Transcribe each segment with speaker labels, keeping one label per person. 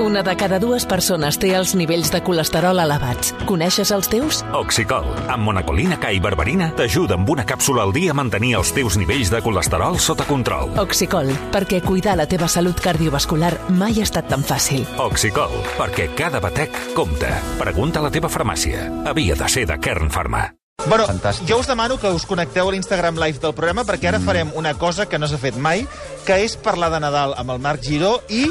Speaker 1: Una de cada dues persones té els nivells de colesterol elevats. Coneixes els teus?
Speaker 2: Oxicol, amb monacolina K i berberina, t'ajuda amb una càpsula al dia a mantenir els teus nivells de colesterol sota control.
Speaker 1: Oxicol, perquè cuidar la teva salut cardiovascular mai ha estat tan fàcil.
Speaker 2: Oxicol, perquè cada batec compta. Pregunta a la teva farmàcia. Havia de ser de Kern Pharma.
Speaker 3: Bueno,
Speaker 4: Fantàstic. Mm.
Speaker 3: jo us demano que us connecteu a l'Instagram Live del programa perquè ara farem una cosa que no s'ha fet mai, que és parlar de Nadal amb el Marc Giró i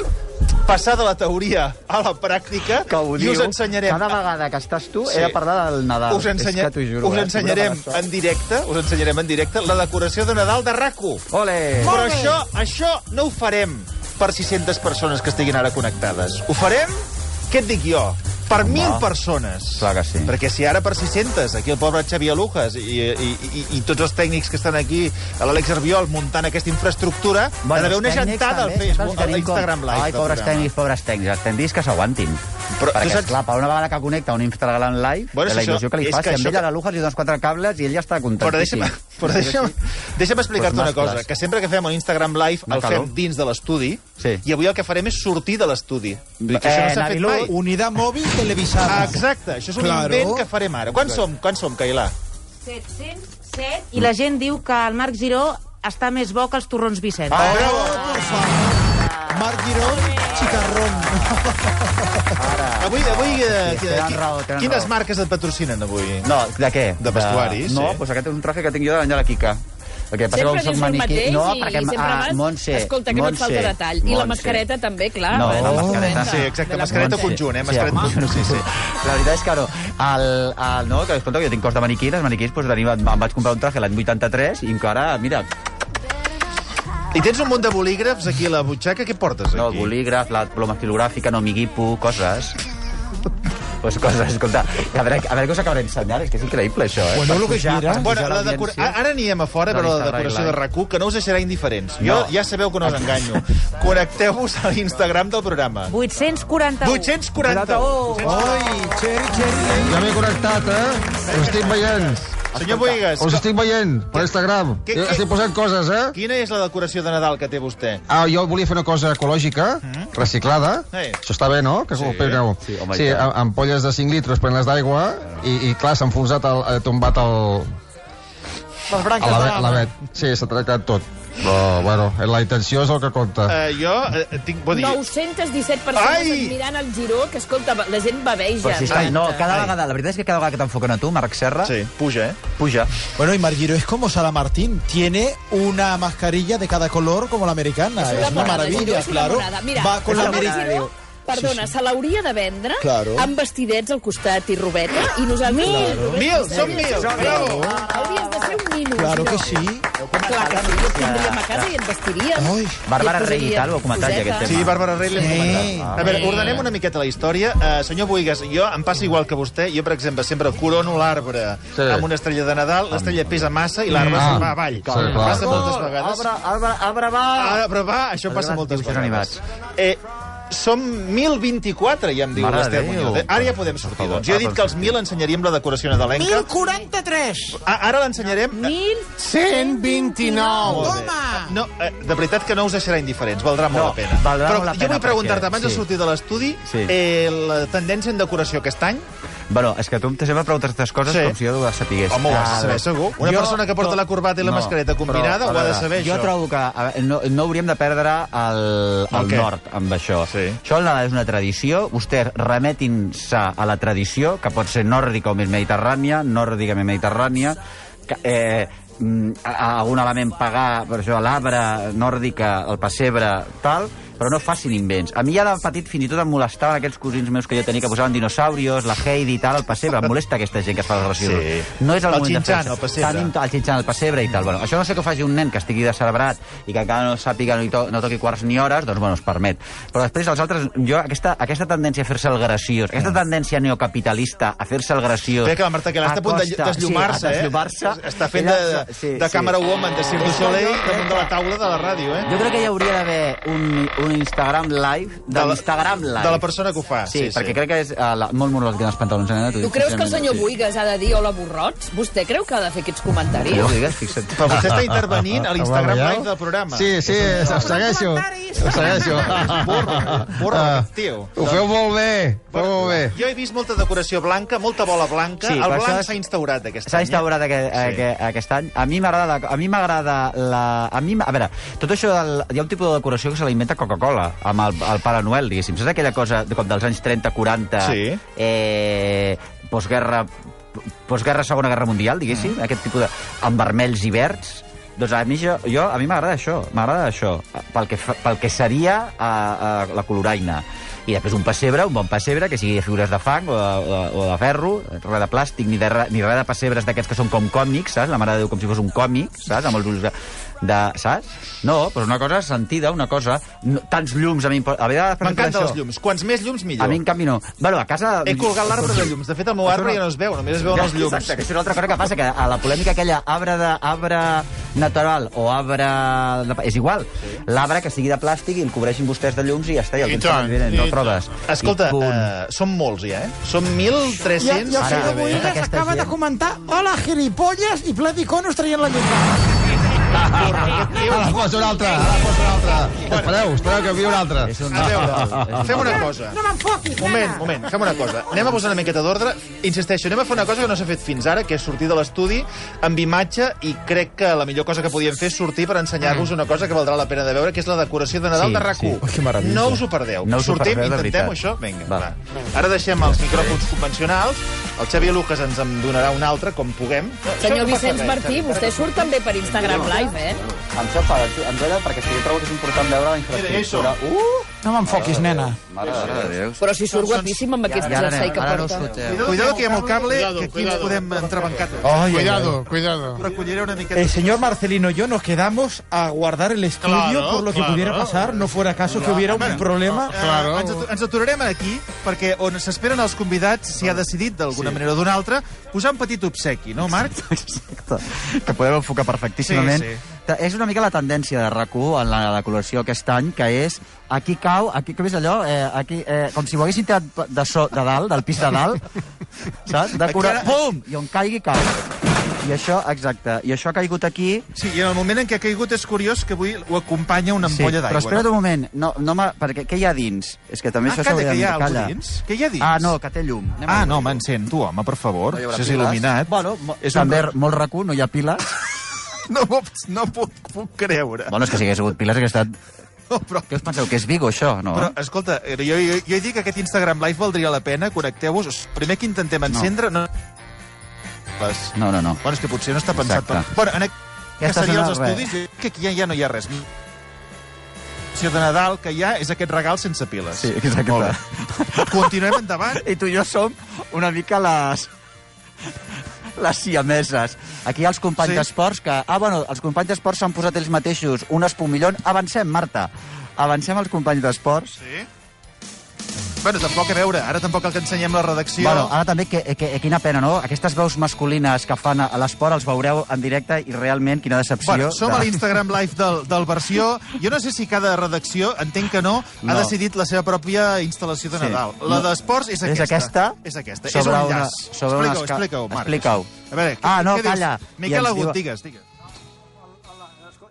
Speaker 3: passar de la teoria a la pràctica
Speaker 4: que ho
Speaker 3: i
Speaker 4: diu,
Speaker 3: us ensenyarem...
Speaker 4: Cada vegada que estàs tu,
Speaker 3: Sí.
Speaker 4: he de parlar del Nadal.
Speaker 3: Us, ensenya...
Speaker 4: És que t'ho juro.
Speaker 3: us
Speaker 4: eh?
Speaker 3: ensenyarem
Speaker 4: T'ho juro per
Speaker 3: en directe us ensenyarem en directe la decoració de Nadal de RAC1.
Speaker 4: això. Ole!
Speaker 3: Però això, això no ho farem per 600 persones que estiguin ara connectades. Ho farem, què et dic jo, per 1.000 persones.
Speaker 4: clar que sí.
Speaker 3: Perquè si ara per 600, aquí el pobre Xavier Lujas i, i, i, i tots els tècnics que estan aquí, a l'Àlex Arbiol, muntant aquesta infraestructura, bueno, ha d'haver una
Speaker 4: tècnics
Speaker 3: gentada al
Speaker 4: també,
Speaker 3: Facebook,
Speaker 4: clar,
Speaker 3: a
Speaker 4: si tenim
Speaker 3: l'Instagram
Speaker 4: com-
Speaker 3: Live.
Speaker 4: Ai,
Speaker 3: del
Speaker 4: pobres
Speaker 3: programa.
Speaker 4: tècnics, pobres tècnics. Els tècnics que s'aguantin.
Speaker 3: Però tu
Speaker 4: Perquè,
Speaker 3: saps-
Speaker 4: saps... esclar, per una vegada que connecta un Instagram Live,
Speaker 3: Bueno,
Speaker 4: bueno,
Speaker 3: és
Speaker 4: la
Speaker 3: això,
Speaker 4: il·lusió que li
Speaker 3: és
Speaker 4: fa,
Speaker 3: que
Speaker 4: si
Speaker 3: això
Speaker 4: amb ella
Speaker 3: que-
Speaker 4: la Lujas li dones quatre cables i ell ja està contentíssim.
Speaker 3: Però deixa'm, però deixa'm, deixa'm explicar-te una
Speaker 4: Pues mascles.
Speaker 3: cosa, que sempre que fem un Instagram Live
Speaker 4: Una
Speaker 3: el fem
Speaker 4: calor.
Speaker 3: dins de l'estudi,
Speaker 4: Sí.
Speaker 3: i avui el que farem és sortir de l'estudi. Vull dir que
Speaker 4: Eh,
Speaker 3: això no s'ha fet
Speaker 4: Nabilú,
Speaker 3: mai.
Speaker 5: Unidad móvil televisada.
Speaker 3: Ah, Exacte, això és un
Speaker 5: Claro.
Speaker 3: invent que farem ara. Quan som, quan som, Cailà?
Speaker 6: 707 i la gent diu que el Marc Giró està més bo que els torrons Vicenç.
Speaker 3: Ah, bravo!
Speaker 5: Marc Giró, Chicarrón.
Speaker 3: Avui, avui eh,
Speaker 4: Sí,
Speaker 3: qui-
Speaker 4: tenen
Speaker 3: qui-
Speaker 4: raó, tenen
Speaker 3: quines
Speaker 4: raó.
Speaker 3: marques et patrocinen avui?
Speaker 4: No, de què?
Speaker 3: De vestuaris,
Speaker 4: No,
Speaker 3: sí.
Speaker 4: doncs aquest és un traje que tinc jo de l'Àngela Quica. El que
Speaker 7: Sempre
Speaker 4: passa que com
Speaker 7: dius
Speaker 4: soc
Speaker 7: el
Speaker 4: maniquí...
Speaker 7: mateix
Speaker 4: no,
Speaker 7: i
Speaker 4: perquè,
Speaker 7: sempre
Speaker 4: ah,
Speaker 7: vas...
Speaker 4: Montse,
Speaker 7: Escolta, que
Speaker 4: Montse,
Speaker 7: no et falta detall. I la
Speaker 4: Montse.
Speaker 7: mascareta també, clar.
Speaker 4: No,
Speaker 7: eh,
Speaker 4: la mascareta.
Speaker 3: Oh, Sí, exacte,
Speaker 7: De la
Speaker 3: mascareta
Speaker 7: Montse.
Speaker 3: conjunt, eh? Mascareta
Speaker 4: home.
Speaker 3: conjunt, sí, sí.
Speaker 4: La veritat és que no. El, el, no, que escolta, que jo tinc cos de maniquí, els maniquís, doncs, tenim, em em vaig comprar un traje l'any 83 i encara, mira,
Speaker 3: I tens un munt de bolígrafs aquí a la butxaca, què portes aquí?
Speaker 4: no, el bolígraf, la ploma estilogràfica, no, miguipo, coses... pues coses, escolta, a veure, a veure què us acabaré ensenyant, és que és increïble, això, eh?
Speaker 5: Bueno,
Speaker 4: Per
Speaker 5: lo que
Speaker 4: pujar-
Speaker 5: quiera.
Speaker 4: per
Speaker 3: Bueno,
Speaker 4: pujar
Speaker 3: la decora...
Speaker 4: l'audiència.
Speaker 3: ara anirem a fora,
Speaker 4: No,
Speaker 3: però la
Speaker 4: Instagram
Speaker 3: decoració de
Speaker 4: Live.
Speaker 3: rac que no us deixarà indiferents. Jo,
Speaker 4: No.
Speaker 3: ja sabeu que no us enganyo. Connecteu-vos a l'Instagram del programa.
Speaker 6: 841.
Speaker 3: 840.
Speaker 8: Oi, xeri, xeri. Ja m'he connectat, eh? Us estic veient.
Speaker 3: Senyor Boigas,
Speaker 8: Us estic veient per Instagram.
Speaker 3: Què- què-
Speaker 8: Estic posant coses, eh?
Speaker 3: quina és la decoració de Nadal que té vostè?
Speaker 8: Ah, jo volia fer una cosa ecològica, reciclada.
Speaker 3: Mm. Sí.
Speaker 8: Això està bé, no? Que
Speaker 3: Sí.
Speaker 8: sí. Copieu.
Speaker 4: Sí, home,
Speaker 8: sí
Speaker 4: i tant.
Speaker 8: am- ampolles de 5 litres plenes d'aigua i, i clar, s'ha enfonsat, el, ha tombat el...
Speaker 3: Les
Speaker 8: A la, la vet. Sí, s'ha trencat tot. Però, bueno, la intenció és el que compta.
Speaker 3: Eh, jo eh, tinc... Vull dir,
Speaker 7: 917
Speaker 3: Ai!
Speaker 7: persones et mirant el Giró, que escolta, la gent baveja.
Speaker 4: Però si està,
Speaker 7: Marta.
Speaker 4: no, cada vegada, la veritat és que cada vegada que t'enfoquen a tu, Marc Serra,
Speaker 3: sí, puja, eh?
Speaker 4: puja.
Speaker 5: Bueno, y Marc Giró es como Salamartín. Tiene una mascarilla de cada color como la americana. Es
Speaker 7: És
Speaker 5: una,
Speaker 7: monada, Giró,
Speaker 5: maravilla,
Speaker 7: és una
Speaker 5: claro.
Speaker 7: monada. Mira,
Speaker 5: Va con la
Speaker 7: el Marc
Speaker 5: americana.
Speaker 7: Giró, Perdona, se l'hauria de vendre
Speaker 5: Claro.
Speaker 7: amb vestidets al costat i robeta i nosaltres... Mil!
Speaker 3: Mil, som mil! Bravo!
Speaker 7: Hauries de ser un nino.
Speaker 5: Claro que
Speaker 7: Giró.
Speaker 5: sí.
Speaker 7: Clar que sí, jo et tindríem a casa i et vestiríem.
Speaker 5: Ai.
Speaker 4: Bàrbara
Speaker 7: I et
Speaker 4: Rey i tal, ho ha comentat ja,
Speaker 7: posaríem
Speaker 4: aquest tema.
Speaker 3: Sí, Bàrbara Rey l'hem
Speaker 5: Sí.
Speaker 3: comentat. A veure, ordenem una miqueta la història. Uh, senyor Boigas, jo em passa igual que vostè. Jo, per exemple, sempre corono l'arbre
Speaker 8: Sí.
Speaker 3: amb una estrella de Nadal, l'estrella pesa massa i l'arbre
Speaker 8: Ah,
Speaker 3: se'n va avall.
Speaker 8: sí, clar.
Speaker 3: Passa moltes vegades.
Speaker 4: arbre, arbre, va!
Speaker 3: Ara, però va, això passa
Speaker 4: Adonat,
Speaker 3: moltes
Speaker 4: dibuixos
Speaker 3: vegades. Eh, som 1024, ja em diu
Speaker 4: Mare de
Speaker 3: l'Ester
Speaker 4: Déu.
Speaker 3: Muñoz. eh? Ara ja podem sortir, doncs. Jo he dit que als 1000 ensenyaríem la decoració nadalenca.
Speaker 9: 1043.
Speaker 3: A- Ara l'ensenyarem... eh,
Speaker 9: 129.
Speaker 3: Molt bé. No, eh, de veritat que no us deixarà indiferents, valdrà molt
Speaker 4: No,
Speaker 3: la pena.
Speaker 4: valdrà
Speaker 3: Però
Speaker 4: molt la
Speaker 3: jo
Speaker 4: pena
Speaker 3: vull preguntar-te,
Speaker 4: perquè-
Speaker 3: abans de
Speaker 4: sí.
Speaker 3: sortir de l'estudi,
Speaker 4: Sí.
Speaker 3: eh, la tendència en decoració aquest any,
Speaker 4: Bueno, és que tu em sempre preguntes aquestes coses
Speaker 3: Sí.
Speaker 4: sí. com si jo les sapigués.
Speaker 3: home, ho has de saber
Speaker 4: Ah,
Speaker 3: segur. Una
Speaker 4: jo-
Speaker 3: persona que porta
Speaker 4: no,
Speaker 3: la corbata i la
Speaker 4: no,
Speaker 3: mascareta
Speaker 4: però,
Speaker 3: combinada ho
Speaker 4: a
Speaker 3: ha de
Speaker 4: veure,
Speaker 3: saber,
Speaker 4: Jo
Speaker 3: això.
Speaker 4: trobo que a veure, no, no hauríem de perdre el, el
Speaker 3: què?
Speaker 4: nord amb això.
Speaker 3: Sí.
Speaker 4: Això la- és una tradició. Vostès remetin-se a la tradició, que pot ser nòrdica o més mediterrània, nòrdica o més mediterrània, que, eh, mm, a- a- algun element pagà, per això l'arbre nòrdica, el pessebre, tal, però no facin invents. A mi ja de petit fins i tot em molestaven aquests cosins meus que jo tenia que posaven dinosaurios, la Heidi i tal, el pessebre. Em molesta aquesta gent que es fa les relacions.
Speaker 3: Sí.
Speaker 4: No és el,
Speaker 3: El
Speaker 4: moment de
Speaker 3: xinxan,
Speaker 4: fer-se
Speaker 3: el pessebre.
Speaker 4: tan el xinxan, el pessebre i tal. Bueno, això no sé que ho faci un nen que estigui descerebrat i que encara no sàpiga ni to, no toqui quarts ni hores, doncs bueno, es permet. Però després els altres, jo, aquesta, aquesta tendència a fer-se el graciós, aquesta tendència neocapitalista a fer-se el graciós...
Speaker 3: Bé, Ah. que la Marta Queralt està a punt de
Speaker 4: costa-
Speaker 3: desllumar-se,
Speaker 4: sí,
Speaker 3: eh?
Speaker 4: a desllumar-se.
Speaker 3: Està fent
Speaker 4: Ella- eh,
Speaker 3: de, de camera woman, de Cirque du Soleil, damunt de la taula de la ràdio, eh?
Speaker 4: Jo crec que hi hauria d'haver un, un Instagram live
Speaker 3: De
Speaker 4: de
Speaker 3: la-
Speaker 4: l'Instagram live.
Speaker 3: de la persona que ho fa, sí,
Speaker 4: Sí, perquè
Speaker 3: sí.
Speaker 4: crec que és uh, la, molt monòleg dels pantalons. Eh?
Speaker 7: Tu creus que el senyor Buigas ha de dir hola burrots? Vostè creu que ha de fer aquests comentaris?
Speaker 4: Jo, digues, fixa't.
Speaker 3: Però vostè està intervenint
Speaker 8: Ah,
Speaker 3: a
Speaker 8: ah,
Speaker 3: l'Instagram
Speaker 8: veieu?
Speaker 3: live del programa.
Speaker 8: Sí, sí, em segueixo.
Speaker 9: comentaris.
Speaker 8: Em segueixo.
Speaker 3: Burro, burro,
Speaker 8: Ah,
Speaker 3: tio. Doncs,
Speaker 8: Ho feu molt bé, ho feu molt bé.
Speaker 3: Jo he vist molta decoració blanca, molta bola blanca.
Speaker 4: Sí,
Speaker 3: Sí, el
Speaker 4: per
Speaker 3: blanc
Speaker 4: això-
Speaker 3: s'ha instaurat aquest
Speaker 4: S'ha
Speaker 3: any, eh?
Speaker 4: instaurat aquest,
Speaker 3: Sí.
Speaker 4: aquest, aquest any. A mi m'agrada... la- A mi m'agrada la... A mi... m- A veure, tot això... Del, hi ha un tipus de decoració que se la inventa Coca-Cola, amb el, el Pare Noel, diguéssim. Saps aquella cosa de, com dels anys 30, 40...
Speaker 3: Sí.
Speaker 4: Eh, postguerra... Postguerra, Segona Doncs Guerra Mundial, diguéssim. Mm. Aquest tipus de... Amb vermells i verds. Doncs a mi, jo, jo, a mi m'agrada això, m'agrada això, pel que, fa- pel que seria a, a la coloraina. I després un pessebre, un bon pessebre, que sigui de figures de fang o de, o de, o de ferro, res de plàstic, ni, de, re- ni res de pessebres d'aquests que són com còmics, saps? La mare de Déu com si fos un còmic, saps? Amb els ulls de, de... Saps? No, però una cosa sentida, una cosa... No, tants llums, a mi... em po- A vegades... per exemple,
Speaker 3: M'encanten
Speaker 4: això-
Speaker 3: els llums. Quants més llums, millor.
Speaker 4: A mi, en canvi, no. Bueno, a casa...
Speaker 3: He colgat l'arbre de llums. De fet, el meu arbre ja no es veu, només es veuen els llums.
Speaker 4: Exacte, que això és una altra cosa que passa, que a la polèmica aquella arbre de arbre natural o arbre... De, és igual. L'arbre que sigui de plàstic i el cobreixin vostès de llums i ja està. I el
Speaker 9: I
Speaker 4: tens
Speaker 9: tant,
Speaker 4: evident, no
Speaker 9: i
Speaker 4: el trobes.
Speaker 3: Escolta,
Speaker 4: I punt.
Speaker 3: uh, som molts ja, eh? Som
Speaker 9: I, el-
Speaker 3: 1.300.
Speaker 9: i el
Speaker 4: Ara,
Speaker 9: senyor
Speaker 4: bé.
Speaker 9: Boigas
Speaker 4: Aquesta
Speaker 9: acaba de
Speaker 4: gent.
Speaker 9: comentar Hola, gilipolles, i ple d'iconos traient la llum.
Speaker 8: Ara posa una altra, ara posa una altra. Espereu, espereu que vi una altra.
Speaker 4: És un...
Speaker 3: A veure, fem una cosa.
Speaker 9: No m'enfoquis,
Speaker 3: Moment,
Speaker 9: nena.
Speaker 3: moment, fem una cosa. Anem a posar una miqueta d'ordre. Insisteixo, anem a fer una cosa que no s'ha fet fins ara, que és sortir de l'estudi amb imatge i crec que la millor cosa que podíem fer és sortir per ensenyar-vos una cosa que valdrà la pena de veure, que és la decoració de Nadal
Speaker 4: Mm. Sí,
Speaker 3: de rac
Speaker 4: sí. Oh,
Speaker 5: que meravella.
Speaker 3: No us ho perdeu.
Speaker 4: No us ho
Speaker 3: Sortim,
Speaker 4: perdeu, de
Speaker 3: intentem
Speaker 4: veritat.
Speaker 3: això? Vinga,
Speaker 4: Va.
Speaker 3: va. Ara deixem els micròfons convencionals. El Xavi Lucas ens en donarà un altre, com puguem.
Speaker 7: Senyor Vicenç Martí, vostè surt també per Instagram Live, eh?
Speaker 4: Em sopa, em sopa, perquè si jo trobo que és important veure la infraestructura... Uh!
Speaker 5: No m'enfoquis, nena.
Speaker 4: Mare de Déu.
Speaker 7: Però si surt guapíssim amb aquest
Speaker 4: I ara
Speaker 7: jersei
Speaker 4: anem,
Speaker 7: que
Speaker 4: ara no eh?
Speaker 7: porta.
Speaker 4: escolteu.
Speaker 3: Cuidado que hi ha el cable, que aquí ens podem entrebancar tots.
Speaker 4: Ai,
Speaker 9: Cuidado, cuidado.
Speaker 3: Recolliré una miqueta.
Speaker 5: El señor Marcelino y yo nos quedamos a guardar el estudio
Speaker 9: Claro,
Speaker 5: por lo que
Speaker 9: claro.
Speaker 5: pudiera pasar, no fuera caso que hubiera un problema.
Speaker 9: Claro.
Speaker 3: Eh, Ens, atu- ens aturarem aquí, perquè on s'esperen els convidats s'hi ha decidit, d'alguna sí. manera o d'una altra, posar un petit obsequi, no, Marc?
Speaker 4: Exacte. Que podem enfocar perfectíssimament.
Speaker 3: Sí,
Speaker 4: Sí,
Speaker 3: sí.
Speaker 4: sí. És una mica la tendència de rac en la decoració aquest any, que és aquí cau, aquí, com és allò? Eh, aquí, eh, com si ho haguessin tirat de, so, de dalt, del pis de dalt, saps? Decorar,
Speaker 3: Aquí ara-
Speaker 4: pum! I on caigui, cau. I això, exacte, i això ha caigut aquí...
Speaker 3: Sí, i en el moment en què ha caigut és curiós que avui ho acompanya una
Speaker 4: Sí,
Speaker 3: ampolla
Speaker 4: però
Speaker 3: d'aigua.
Speaker 4: espera't un moment, no, no m'ha- perquè què hi ha dins? És que també
Speaker 3: Ah,
Speaker 4: això
Speaker 3: calla,
Speaker 4: s'hauria
Speaker 3: que
Speaker 4: de
Speaker 3: hi ha
Speaker 4: mirar,
Speaker 3: algú
Speaker 4: calla.
Speaker 3: dins? Que hi ha dins?
Speaker 4: Ah, no, que té llum. Anem
Speaker 3: Ah,
Speaker 4: a-
Speaker 3: no, m'encén, tu, home, per favor.
Speaker 4: hi haurà
Speaker 3: Això és
Speaker 4: piles?
Speaker 3: il·luminat.
Speaker 4: Bueno, és també un... molt rac no hi ha piles.
Speaker 3: No, m'ho- no puc, puc creure.
Speaker 4: bueno, és que si hagués hagut piles hagués estat...
Speaker 3: No, però...
Speaker 4: Què us penseu, que és Vigo, això, no? eh?
Speaker 3: Però, escolta, eh, jo, jo, jo he dit que aquest Instagram Live valdria la pena, connecteu-vos. Primer que intentem encendre... No. Les-
Speaker 4: No, no, no.
Speaker 3: Bueno, és que potser no està pensat
Speaker 4: Exacte.
Speaker 3: per... Bueno, en aquest que
Speaker 4: Aquesta
Speaker 3: seria
Speaker 4: zona,
Speaker 3: els
Speaker 4: res.
Speaker 3: estudis, jo crec que aquí ja, ja no hi ha res. La de Nadal que hi ha és aquest regal sense piles.
Speaker 4: Sí, exacte.
Speaker 3: Molt bé. Continuem endavant.
Speaker 4: I tu i jo som una mica les les siameses. Aquí hi ha els companys
Speaker 3: Sí.
Speaker 4: sí. d'esports que... Ah, bueno, els companys d'esports s'han posat ells mateixos un espumillon. Avancem, Marta. Avancem els companys d'esports.
Speaker 3: Sí. Bueno, tampoc a veure, ara tampoc el que ensenyem la redacció...
Speaker 4: Bueno, ara també, que, que, quina pena, no? Aquestes veus masculines que fan a a l'esport els veureu en directe i realment quina decepció.
Speaker 3: Bueno, som a
Speaker 4: de-
Speaker 3: l'Instagram Live del, del versió. Jo no sé si cada redacció, entenc que no, ha
Speaker 4: No.
Speaker 3: decidit la seva pròpia instal·lació de
Speaker 4: Sí.
Speaker 3: Nadal. La
Speaker 4: No.
Speaker 3: d'esports és
Speaker 4: És
Speaker 3: aquesta.
Speaker 4: aquesta?
Speaker 3: És aquesta. És
Speaker 4: Sobre
Speaker 3: un
Speaker 4: una-
Speaker 3: llaç.
Speaker 4: sobre una
Speaker 3: Explica-ho,
Speaker 4: esca-
Speaker 3: explica-ho, Marc.
Speaker 4: explica-ho.
Speaker 3: A veure, què,
Speaker 4: Ah, no,
Speaker 3: què dius?
Speaker 4: calla. I
Speaker 3: Miquel
Speaker 4: ens
Speaker 3: Agut,
Speaker 4: diu-
Speaker 3: digues, digues.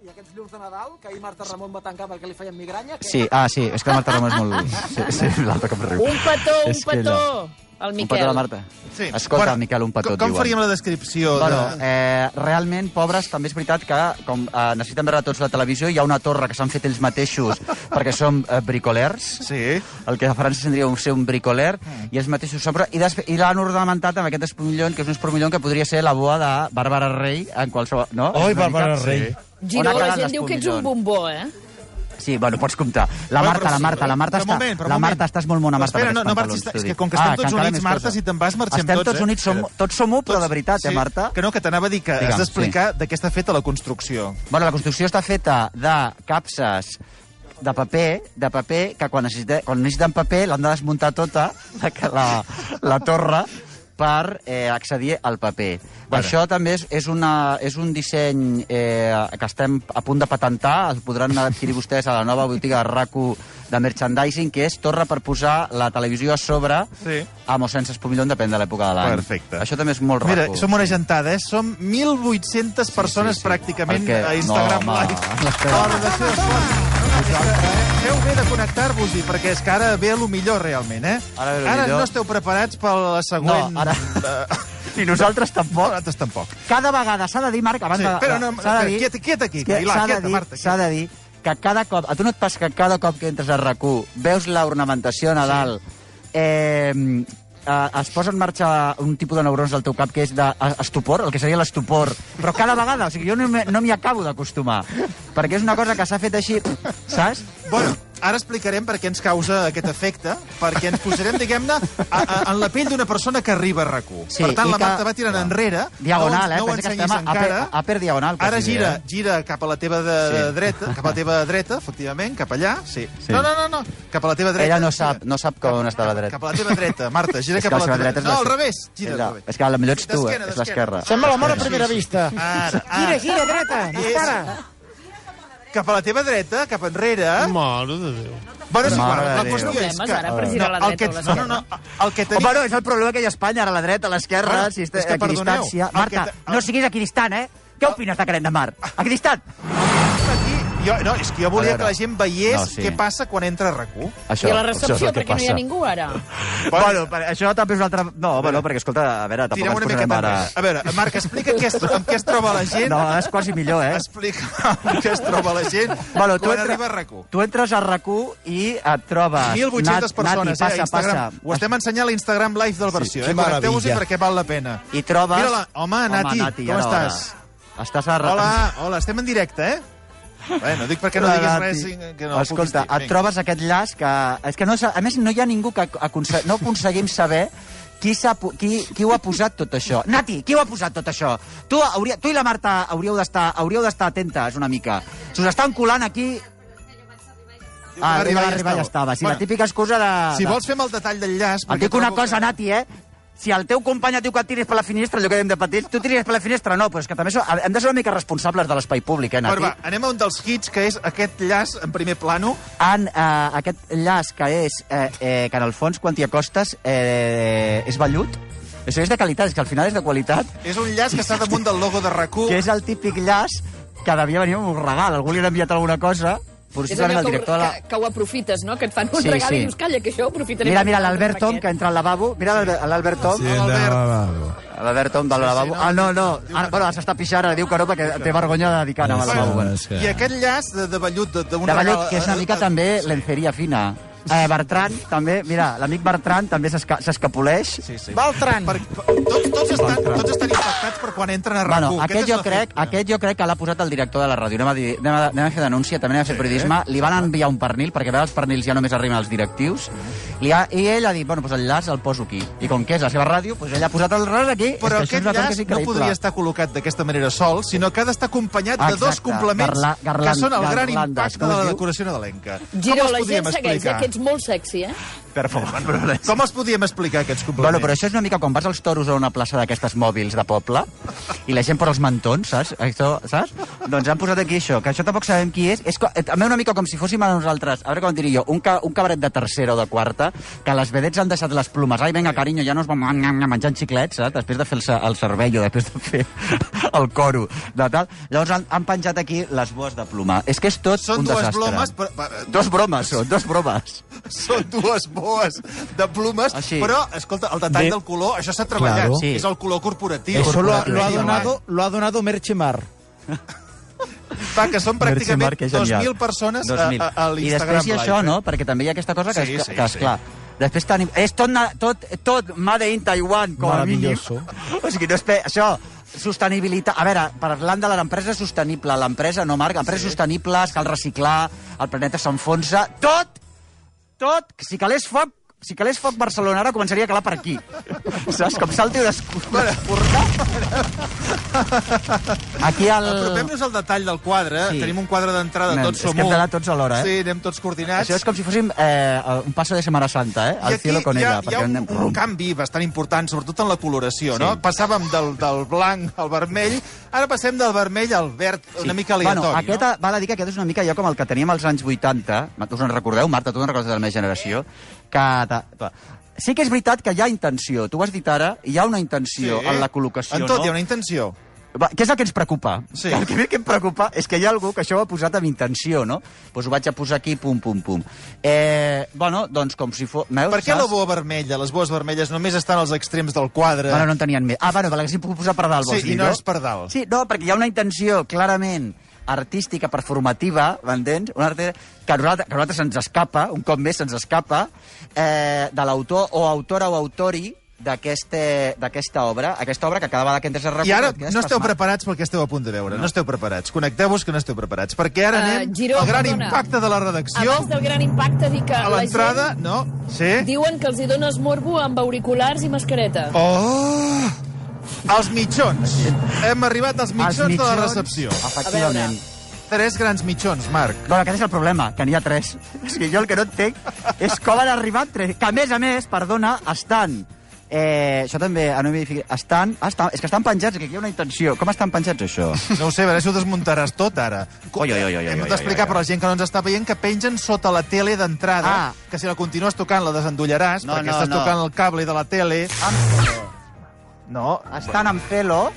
Speaker 10: I aquests llums de Nadal, que ahir Marta Ramon va tancar perquè li feien migranya... Que...
Speaker 4: Sí, ah, sí, és que la Marta Ramon és molt dur. Sí, sí l'altre que em riu.
Speaker 7: Un petó, un
Speaker 4: És que
Speaker 7: petó, el
Speaker 4: allò. Un petó a
Speaker 7: Miquel.
Speaker 4: la Marta.
Speaker 3: Sí.
Speaker 4: Escolta,
Speaker 3: Bueno,
Speaker 4: Miquel, un petó,
Speaker 3: Com, com
Speaker 4: diuen.
Speaker 3: faríem la descripció?
Speaker 4: Bueno,
Speaker 3: de...
Speaker 4: eh, realment, pobres, també és veritat que com eh, necessiten veure tots la televisió, hi ha una torre que s'han fet ells mateixos perquè som eh, bricolers.
Speaker 3: Sí. Mm.
Speaker 4: El que a França seria un, ser un bricoler, i els mateixos s'han posat- i, despe- i l'han ornamentat amb aquest espumillon, que és un espumillon que podria ser la boa de Bàrbara Rey en qualsevol... No?
Speaker 5: Oi,
Speaker 4: És una mica-
Speaker 5: Bàrbara Rey.
Speaker 4: Sí. On
Speaker 7: Giró,
Speaker 4: ha
Speaker 7: la
Speaker 4: quedat
Speaker 7: gent diu que ets
Speaker 4: l'espumillon?
Speaker 7: un bombó, eh?
Speaker 4: Sí, bueno, pots comptar. La
Speaker 3: Bueno,
Speaker 4: Marta,
Speaker 3: però
Speaker 4: la
Speaker 3: sí,
Speaker 4: Marta, la Marta
Speaker 3: però
Speaker 4: està...
Speaker 3: moment, però
Speaker 4: la
Speaker 3: moment.
Speaker 4: Marta, estàs molt mona, Marta.
Speaker 3: Espera,
Speaker 4: amb
Speaker 3: no, no
Speaker 4: aquests
Speaker 3: marxis,
Speaker 4: pantalons,
Speaker 3: és
Speaker 4: t'ho
Speaker 3: que
Speaker 4: dic.
Speaker 3: com que estem tots
Speaker 4: Ah, encara
Speaker 3: units,
Speaker 4: més
Speaker 3: Marta,
Speaker 4: cosa.
Speaker 3: si te'n vas, marxem
Speaker 4: estem
Speaker 3: tots, eh?
Speaker 4: tots units, som,
Speaker 3: Espera.
Speaker 4: tots som un, però de veritat, eh, Marta?
Speaker 3: Que no, que t'anava a dir que
Speaker 4: Digue'm,
Speaker 3: has d'explicar de què està feta la construcció.
Speaker 4: Bueno, la construcció està feta de capses de paper, de paper que quan, necessite, quan necessiten paper l'han de desmuntar tota, la, la, la torre, per eh, accedir al paper. Això també és, és, una, és un disseny eh, que estem a punt de patentar, el podran adquirir vostès a la nova botiga RACU de merchandising, que és torre per posar la televisió a sobre
Speaker 3: Sí.
Speaker 4: amb o sense espumillon, depèn de l'època de l'any.
Speaker 3: Perfecte.
Speaker 4: Això també és molt
Speaker 3: Mira,
Speaker 4: RACU.
Speaker 3: som una gentada, eh? Som 1.800 persones pràcticament
Speaker 4: Perquè-
Speaker 3: a Instagram
Speaker 4: no, home,
Speaker 3: Live.
Speaker 4: l'espera.
Speaker 3: Hora de ser Feu bé de connectar-vos-hi, perquè és que ara ve a lo millor, realment, eh?
Speaker 4: Ara ve lo
Speaker 3: ara
Speaker 4: millor.
Speaker 3: no esteu preparats per la següent...
Speaker 4: No, ara-
Speaker 3: Eh,
Speaker 4: I nosaltres tampoc.
Speaker 3: Nosaltres tampoc.
Speaker 4: Cada vegada s'ha de dir, Marc, abans
Speaker 3: Sí,
Speaker 4: de...
Speaker 3: però no,
Speaker 4: s'ha
Speaker 3: espera,
Speaker 4: de dir-
Speaker 3: quieta- quieta aquí,
Speaker 4: És que
Speaker 3: Pilar,
Speaker 4: s'ha de
Speaker 3: quieta,
Speaker 4: dir-
Speaker 3: Marta,
Speaker 4: S'ha de dir que cada cop... A tu no et passa que cada cop que entres a rac veus l'ornamentació a Nadal... Eh, eh, es posa en marxa un tipus de neurons al teu cap que és d'estupor, el que seria l'estupor. Però cada vegada, o sigui, jo no m'hi no m'hi acabo d'acostumar. Perquè és una cosa que s'ha fet així, saps?
Speaker 3: Bueno, ara explicarem per què ens causa aquest efecte, perquè ens posarem, diguem-ne, a- a- en la pell d'una persona que arriba a rac
Speaker 4: Sí,
Speaker 3: per tant,
Speaker 4: i
Speaker 3: la
Speaker 4: que-
Speaker 3: Marta va tirant enrere.
Speaker 4: Diagonal,
Speaker 3: no, ens-
Speaker 4: eh?
Speaker 3: No ho
Speaker 4: Pensa que
Speaker 3: ensenyis
Speaker 4: estem a- a
Speaker 3: encara.
Speaker 4: per- a per diagonal,
Speaker 3: Ara
Speaker 4: quasi bé,
Speaker 3: gira,
Speaker 4: eh?
Speaker 3: gira cap a la teva de,
Speaker 4: Sí.
Speaker 3: dreta, cap a la teva dreta, efectivament, cap allà. Sí.
Speaker 4: Sí.
Speaker 3: No, no, no, no, cap a la teva dreta.
Speaker 4: Ella no
Speaker 3: gira.
Speaker 4: sap, no sap com on està la dreta.
Speaker 3: Cap a la teva dreta, Marta, gira
Speaker 4: És que
Speaker 3: cap a
Speaker 4: la
Speaker 3: la
Speaker 4: seva
Speaker 3: teva
Speaker 4: dreta és
Speaker 3: No,
Speaker 4: la-
Speaker 3: al revés, gira.
Speaker 4: és la-
Speaker 3: al revés.
Speaker 4: és que la millor ets tu,
Speaker 3: D'esquena,
Speaker 4: eh? És
Speaker 3: d'esquena.
Speaker 4: l'esquerra.
Speaker 9: Sembla l'amor a primera vista.
Speaker 3: Ara,
Speaker 9: Gira,
Speaker 3: ara.
Speaker 9: gira, dreta, dispara.
Speaker 3: Cap a la teva dreta, cap enrere.
Speaker 11: Mare de Déu.
Speaker 3: Bueno, és igual,
Speaker 4: Mare de
Speaker 3: la
Speaker 4: Déu.
Speaker 3: qüestió és
Speaker 7: Problemes
Speaker 3: que...
Speaker 4: Ah,
Speaker 7: ara per girar a la
Speaker 3: No, el
Speaker 7: dreta
Speaker 3: que-
Speaker 7: o a
Speaker 3: no,
Speaker 7: l'esquerra.
Speaker 3: no, no, el que
Speaker 4: Tenim...
Speaker 3: tenim...
Speaker 4: Bueno, és el problema que hi ha a Espanya, ara a la dreta, a l'esquerra,
Speaker 3: Bueno,
Speaker 4: si està
Speaker 3: és que, perdoneu, Ah,
Speaker 4: equidistància.
Speaker 3: el
Speaker 4: Marta,
Speaker 3: que te- el-
Speaker 4: no siguis equidistant, eh?
Speaker 3: Ah.
Speaker 4: Què opines de Canet de Mar? Equidistant!
Speaker 3: Aquí, jo, no, és que jo volia
Speaker 4: A veure.
Speaker 3: que la gent veiés
Speaker 4: No, sí.
Speaker 3: què passa quan entra a RAC1.
Speaker 4: Això,
Speaker 7: I a la recepció, perquè no hi ha ningú ara.
Speaker 4: Bueno, per, això també és una altra... No, bueno, perquè, escolta, a veure, tampoc
Speaker 3: Tirem
Speaker 4: ens
Speaker 3: una mica
Speaker 4: posarem
Speaker 3: tan
Speaker 4: ara...
Speaker 3: A veure, Marc, explica què es, amb què es troba la gent.
Speaker 4: No, és quasi millor, eh?
Speaker 3: Explica amb què es troba la gent
Speaker 4: Bueno,
Speaker 3: quan arriba a RAC1.
Speaker 4: tu entres a RAC1 i et trobes...
Speaker 3: 1.800
Speaker 4: Nat-
Speaker 3: persones,
Speaker 4: Nati, passa,
Speaker 3: eh, a Instagram.
Speaker 4: Passa.
Speaker 3: Ho estem ensenyant a l'Instagram Live del versió.
Speaker 5: que
Speaker 3: eh? Connecteu-vos-hi
Speaker 5: meravella.
Speaker 3: perquè val la pena.
Speaker 4: I trobes...
Speaker 3: Mira-la. Home, Nati,
Speaker 4: Nati
Speaker 3: com
Speaker 4: ja era
Speaker 3: estàs?
Speaker 4: hora. Estàs a...
Speaker 3: Hola, hola, estem en directe, eh? Bé, no dic perquè no
Speaker 4: La
Speaker 3: diguis
Speaker 4: Nati.
Speaker 3: res i que no puguis
Speaker 4: Escolta,
Speaker 3: dir.
Speaker 4: et trobes aquest llaç que... És que no, sa- a més, no hi ha ningú que aconse no aconseguim saber qui, s'ha po- qui, qui ho ha posat tot això. Nati, qui ho ha posat tot això? Tu, hauria, tu i la Marta hauríeu d'estar hauríeu d'estar atentes una mica. Se us estan colant aquí... Ah, arriba, arriba, ja estava. Sí, la
Speaker 3: Bueno,
Speaker 4: típica excusa de...
Speaker 3: Si
Speaker 4: de-
Speaker 3: vols fem el detall del llaç...
Speaker 4: Et
Speaker 3: perquè
Speaker 4: dic una
Speaker 3: trobo
Speaker 4: cosa,
Speaker 3: que-
Speaker 4: Nati, eh? Si el teu company et diu que et tiris per la finestra, allò que dèiem de petits, tu tiris per la finestra, no, però és que també so, hem de ser una mica responsables de l'espai públic, eh, Nati?
Speaker 3: Però va, anem a un dels hits, que és aquest llaç en primer plano.
Speaker 4: en eh, aquest llaç que és eh, eh, que en el fons quan t'hi acostes eh, és vellut això és de qualitat, és que al final és de qualitat
Speaker 3: És un llaç que està damunt del logo de RAC1.
Speaker 4: que és el típic llaç que devia venir amb un regal algú li ha enviat alguna cosa
Speaker 7: És
Speaker 4: possiblement
Speaker 7: allò
Speaker 4: el
Speaker 7: que,
Speaker 4: director de la...
Speaker 7: que, que ho aprofites, no? Que et fan un
Speaker 4: Sí,
Speaker 7: sí, regal
Speaker 4: sí.
Speaker 7: sí. i dius, calla, que això ho aprofitaré.
Speaker 4: Mira,
Speaker 7: per
Speaker 4: mira,
Speaker 7: fer un altre
Speaker 4: l'Albert Tom,
Speaker 7: paquet."
Speaker 4: que entra al lavabo. Mira l'Albert- l'Albert Tom. L'Albert Tom del lavabo. Ah, no, no. Ara, bueno, s'està pixant, ara diu que no, perquè té vergonya de dedicar a anar al lavabo.
Speaker 3: Bueno, I aquest llaç de, de vellut de- eh, d'un
Speaker 4: de Ballet,
Speaker 3: regal-
Speaker 4: que és una mica també lenceria fina. Eh, Bertran, també, mira, l'amic Bertran també s'esca- s'escapoleix.
Speaker 3: Sí, sí.
Speaker 9: Valtran.
Speaker 3: Per, tots, tots, estan, tots estan impactats per quan entren a RAC1.
Speaker 4: Bueno, aquest,
Speaker 3: Aquesta és
Speaker 4: jo
Speaker 3: la
Speaker 4: crec,
Speaker 3: fortuna.
Speaker 4: aquest jo crec que l'ha posat el director de la ràdio. Anem a, dir, anem a, anem a fer denúncia, també anem a fer periodisme. Li van enviar un pernil, perquè a veure els pernils ja només arriben als directius. Li ha, I ell ha dit, bueno, doncs el llaç el poso aquí. I com que és la seva ràdio, doncs ell ha posat el llaç aquí.
Speaker 3: Però
Speaker 4: és
Speaker 3: aquest
Speaker 4: que això és una cosa que
Speaker 3: llaç
Speaker 4: és
Speaker 3: no
Speaker 4: increïble.
Speaker 3: podria estar col·locat d'aquesta manera sol, sinó que ha d'estar acompanyat de dos
Speaker 4: Exacte,
Speaker 3: complements
Speaker 4: garla- garlan-
Speaker 3: que són el gran
Speaker 4: garlandes,
Speaker 3: impacte
Speaker 4: com
Speaker 3: de
Speaker 4: es
Speaker 3: la
Speaker 4: diu?
Speaker 3: decoració nadalenca.
Speaker 7: Giro,
Speaker 3: els
Speaker 7: la
Speaker 3: podíem
Speaker 7: gent segueix, eh, que ets molt sexy, eh?
Speaker 4: Per favor.
Speaker 3: Com els podíem explicar, aquests complements?
Speaker 4: Bueno, però això és una mica com vas als toros a una plaça d'aquestes mòbils de poble i la gent posa els mentons, saps? Això, saps? Doncs han posat aquí això, que això tampoc sabem qui és. És co- eh, també una mica com si fóssim a nosaltres, a veure com diria jo, un, ca un cabaret de tercera o de quarta, que les vedets han deixat les plomes. Ai, vinga, carinyo, ja no es van nyam, nyam, menjant xiclets, saps? Després de fer el, se- el cervello, després de fer el coro, de tal. Llavors han, han penjat aquí les boes de ploma. És que és tot
Speaker 3: Són
Speaker 4: un
Speaker 3: dues
Speaker 4: desastre.
Speaker 3: plomes, però- però-
Speaker 4: Dos bromes, són, dos bromes.
Speaker 3: Són dues boes de plomes,
Speaker 4: Així.
Speaker 3: però, escolta, el detall
Speaker 5: De-
Speaker 3: del color, això s'ha treballat.
Speaker 5: Claro.
Speaker 4: Sí.
Speaker 3: És el color corporatiu.
Speaker 5: Eso lo, ha-
Speaker 4: corporatiu.
Speaker 5: lo ha donado, lo ha donado Merchemar.
Speaker 3: Fa que són pràcticament
Speaker 4: Merche Marc, és genial.
Speaker 3: 2.000 persones a,
Speaker 4: 2.000.
Speaker 3: a, a
Speaker 4: Doncs I
Speaker 3: l'Instagram
Speaker 4: després hi ha això,
Speaker 3: Live,
Speaker 4: no?
Speaker 3: eh?
Speaker 4: Perquè també hi ha aquesta cosa que,
Speaker 3: Sí,
Speaker 4: és,
Speaker 3: sí,
Speaker 4: que és
Speaker 3: sí.
Speaker 4: clar. Després tenim... És tot, na- tot, tot made in Taiwan, com a mínim.
Speaker 5: Maravilloso.
Speaker 4: O sigui, no espe... Això, sostenibilitat... A veure, parlant de l'empresa sostenible, l'empresa, no, Marc? Empresa sí. sostenible, es cal reciclar, el planeta s'enfonsa... Tot! Tot! Si calés foc, si calés foc Barcelona ara començaria a calar per aquí. Saps? Com salti d'escurta. Aquí al...
Speaker 3: Apropem-nos al detall del quadre.
Speaker 4: Sí.
Speaker 3: Sí. Tenim un quadre d'entrada,
Speaker 4: Anem,
Speaker 3: tots
Speaker 4: és
Speaker 3: som
Speaker 4: que hem
Speaker 3: un.
Speaker 4: d'anar tots alhora, eh?
Speaker 3: Sí, anem tots coordinats.
Speaker 4: Això és com si fóssim eh, un passo de Semana Santa, eh? Al cielo con
Speaker 3: hi ha,
Speaker 4: ella.
Speaker 3: hi ha
Speaker 4: perquè
Speaker 3: un,
Speaker 4: anem-
Speaker 3: un canvi bastant important, sobretot en la coloració, sí. no? Passàvem del, del blanc al vermell, ara passem del vermell al verd, una mica aleatori,
Speaker 4: bueno,
Speaker 3: no?
Speaker 4: aquesta, no? Val a dir que aquest és una mica allò com el que teníem als anys 80, Ma- tu us en recordeu, Marta, tu te'n recordes de la meva generació, que... ta- Sí que és veritat que hi ha intenció, tu ho has dit ara, hi ha una intenció
Speaker 3: Sí.
Speaker 4: en la col·locació,
Speaker 3: En tot
Speaker 4: no?
Speaker 3: hi ha una intenció.
Speaker 4: Va, què és el que ens preocupa?
Speaker 3: Sí.
Speaker 4: El que, que em preocupa és que hi ha algú que això ho ha posat amb intenció, no? Doncs pues ho vaig a posar aquí, pum, pum, pum. Eh, bueno, doncs com si fos... Veus,
Speaker 3: Per què la
Speaker 4: saps?
Speaker 3: boa vermella, les boes vermelles, només estan als extrems del quadre?
Speaker 4: Bueno, no en tenien més. Ah, bueno, que l'haguessin pogut posar per dalt, vols
Speaker 3: Eh. Sí,
Speaker 4: dir,
Speaker 3: i no és per dalt.
Speaker 4: Sí, no, perquè hi ha una intenció clarament artística, performativa, m'entens? Una arte que a nosaltres, que a nosaltres se'ns escapa, un cop més se'ns escapa, eh, de l'autor o autora o autori d'aqueste- d'aquesta obra, aquesta obra que cada vegada que entres a
Speaker 3: I
Speaker 4: recordar...
Speaker 3: ara
Speaker 4: et quedes
Speaker 3: no esteu
Speaker 4: pasmat.
Speaker 3: preparats pel que esteu a punt de veure. No, no esteu preparats. Connecteu-vos que no esteu preparats. Perquè ara
Speaker 6: Eh,
Speaker 3: anem
Speaker 6: Giró,
Speaker 3: al gran
Speaker 6: perdona.
Speaker 3: impacte de la redacció.
Speaker 6: Abans del gran impacte, dir que
Speaker 3: A
Speaker 6: la
Speaker 3: l'entrada,
Speaker 6: gent
Speaker 3: no? Sí?
Speaker 6: diuen que els hi dones morbo amb auriculars i mascareta.
Speaker 3: Oh! Els mitjons. Hem arribat als mitjons,
Speaker 4: Els
Speaker 3: de la
Speaker 4: mitjons,
Speaker 3: recepció.
Speaker 4: Efectivament.
Speaker 3: Tres grans mitjons, Marc.
Speaker 4: Bueno, aquest és el problema, que n'hi ha tres. O sigui, jo el que no entenc és com han arribat tres. Que, a més a més, perdona, estan... Eh, això també, a no m'hi fiqui- estan, ah, estan... És que estan penjats, que aquí hi ha una intenció. Com estan penjats, això?
Speaker 3: No ho sé, a veure si ho desmuntaràs tot, ara.
Speaker 4: Oi, oi, oi, oi,
Speaker 3: Hem
Speaker 4: oi,
Speaker 3: d'explicar
Speaker 4: oi, oi,
Speaker 3: per la gent que no ens està veient que pengen sota la tele d'entrada,
Speaker 4: Ah.
Speaker 3: que si la continues tocant la desendollaràs,
Speaker 4: No,
Speaker 3: perquè
Speaker 4: no,
Speaker 3: estàs
Speaker 4: no.
Speaker 3: tocant el cable de la tele. No,
Speaker 4: Estan amb pelo...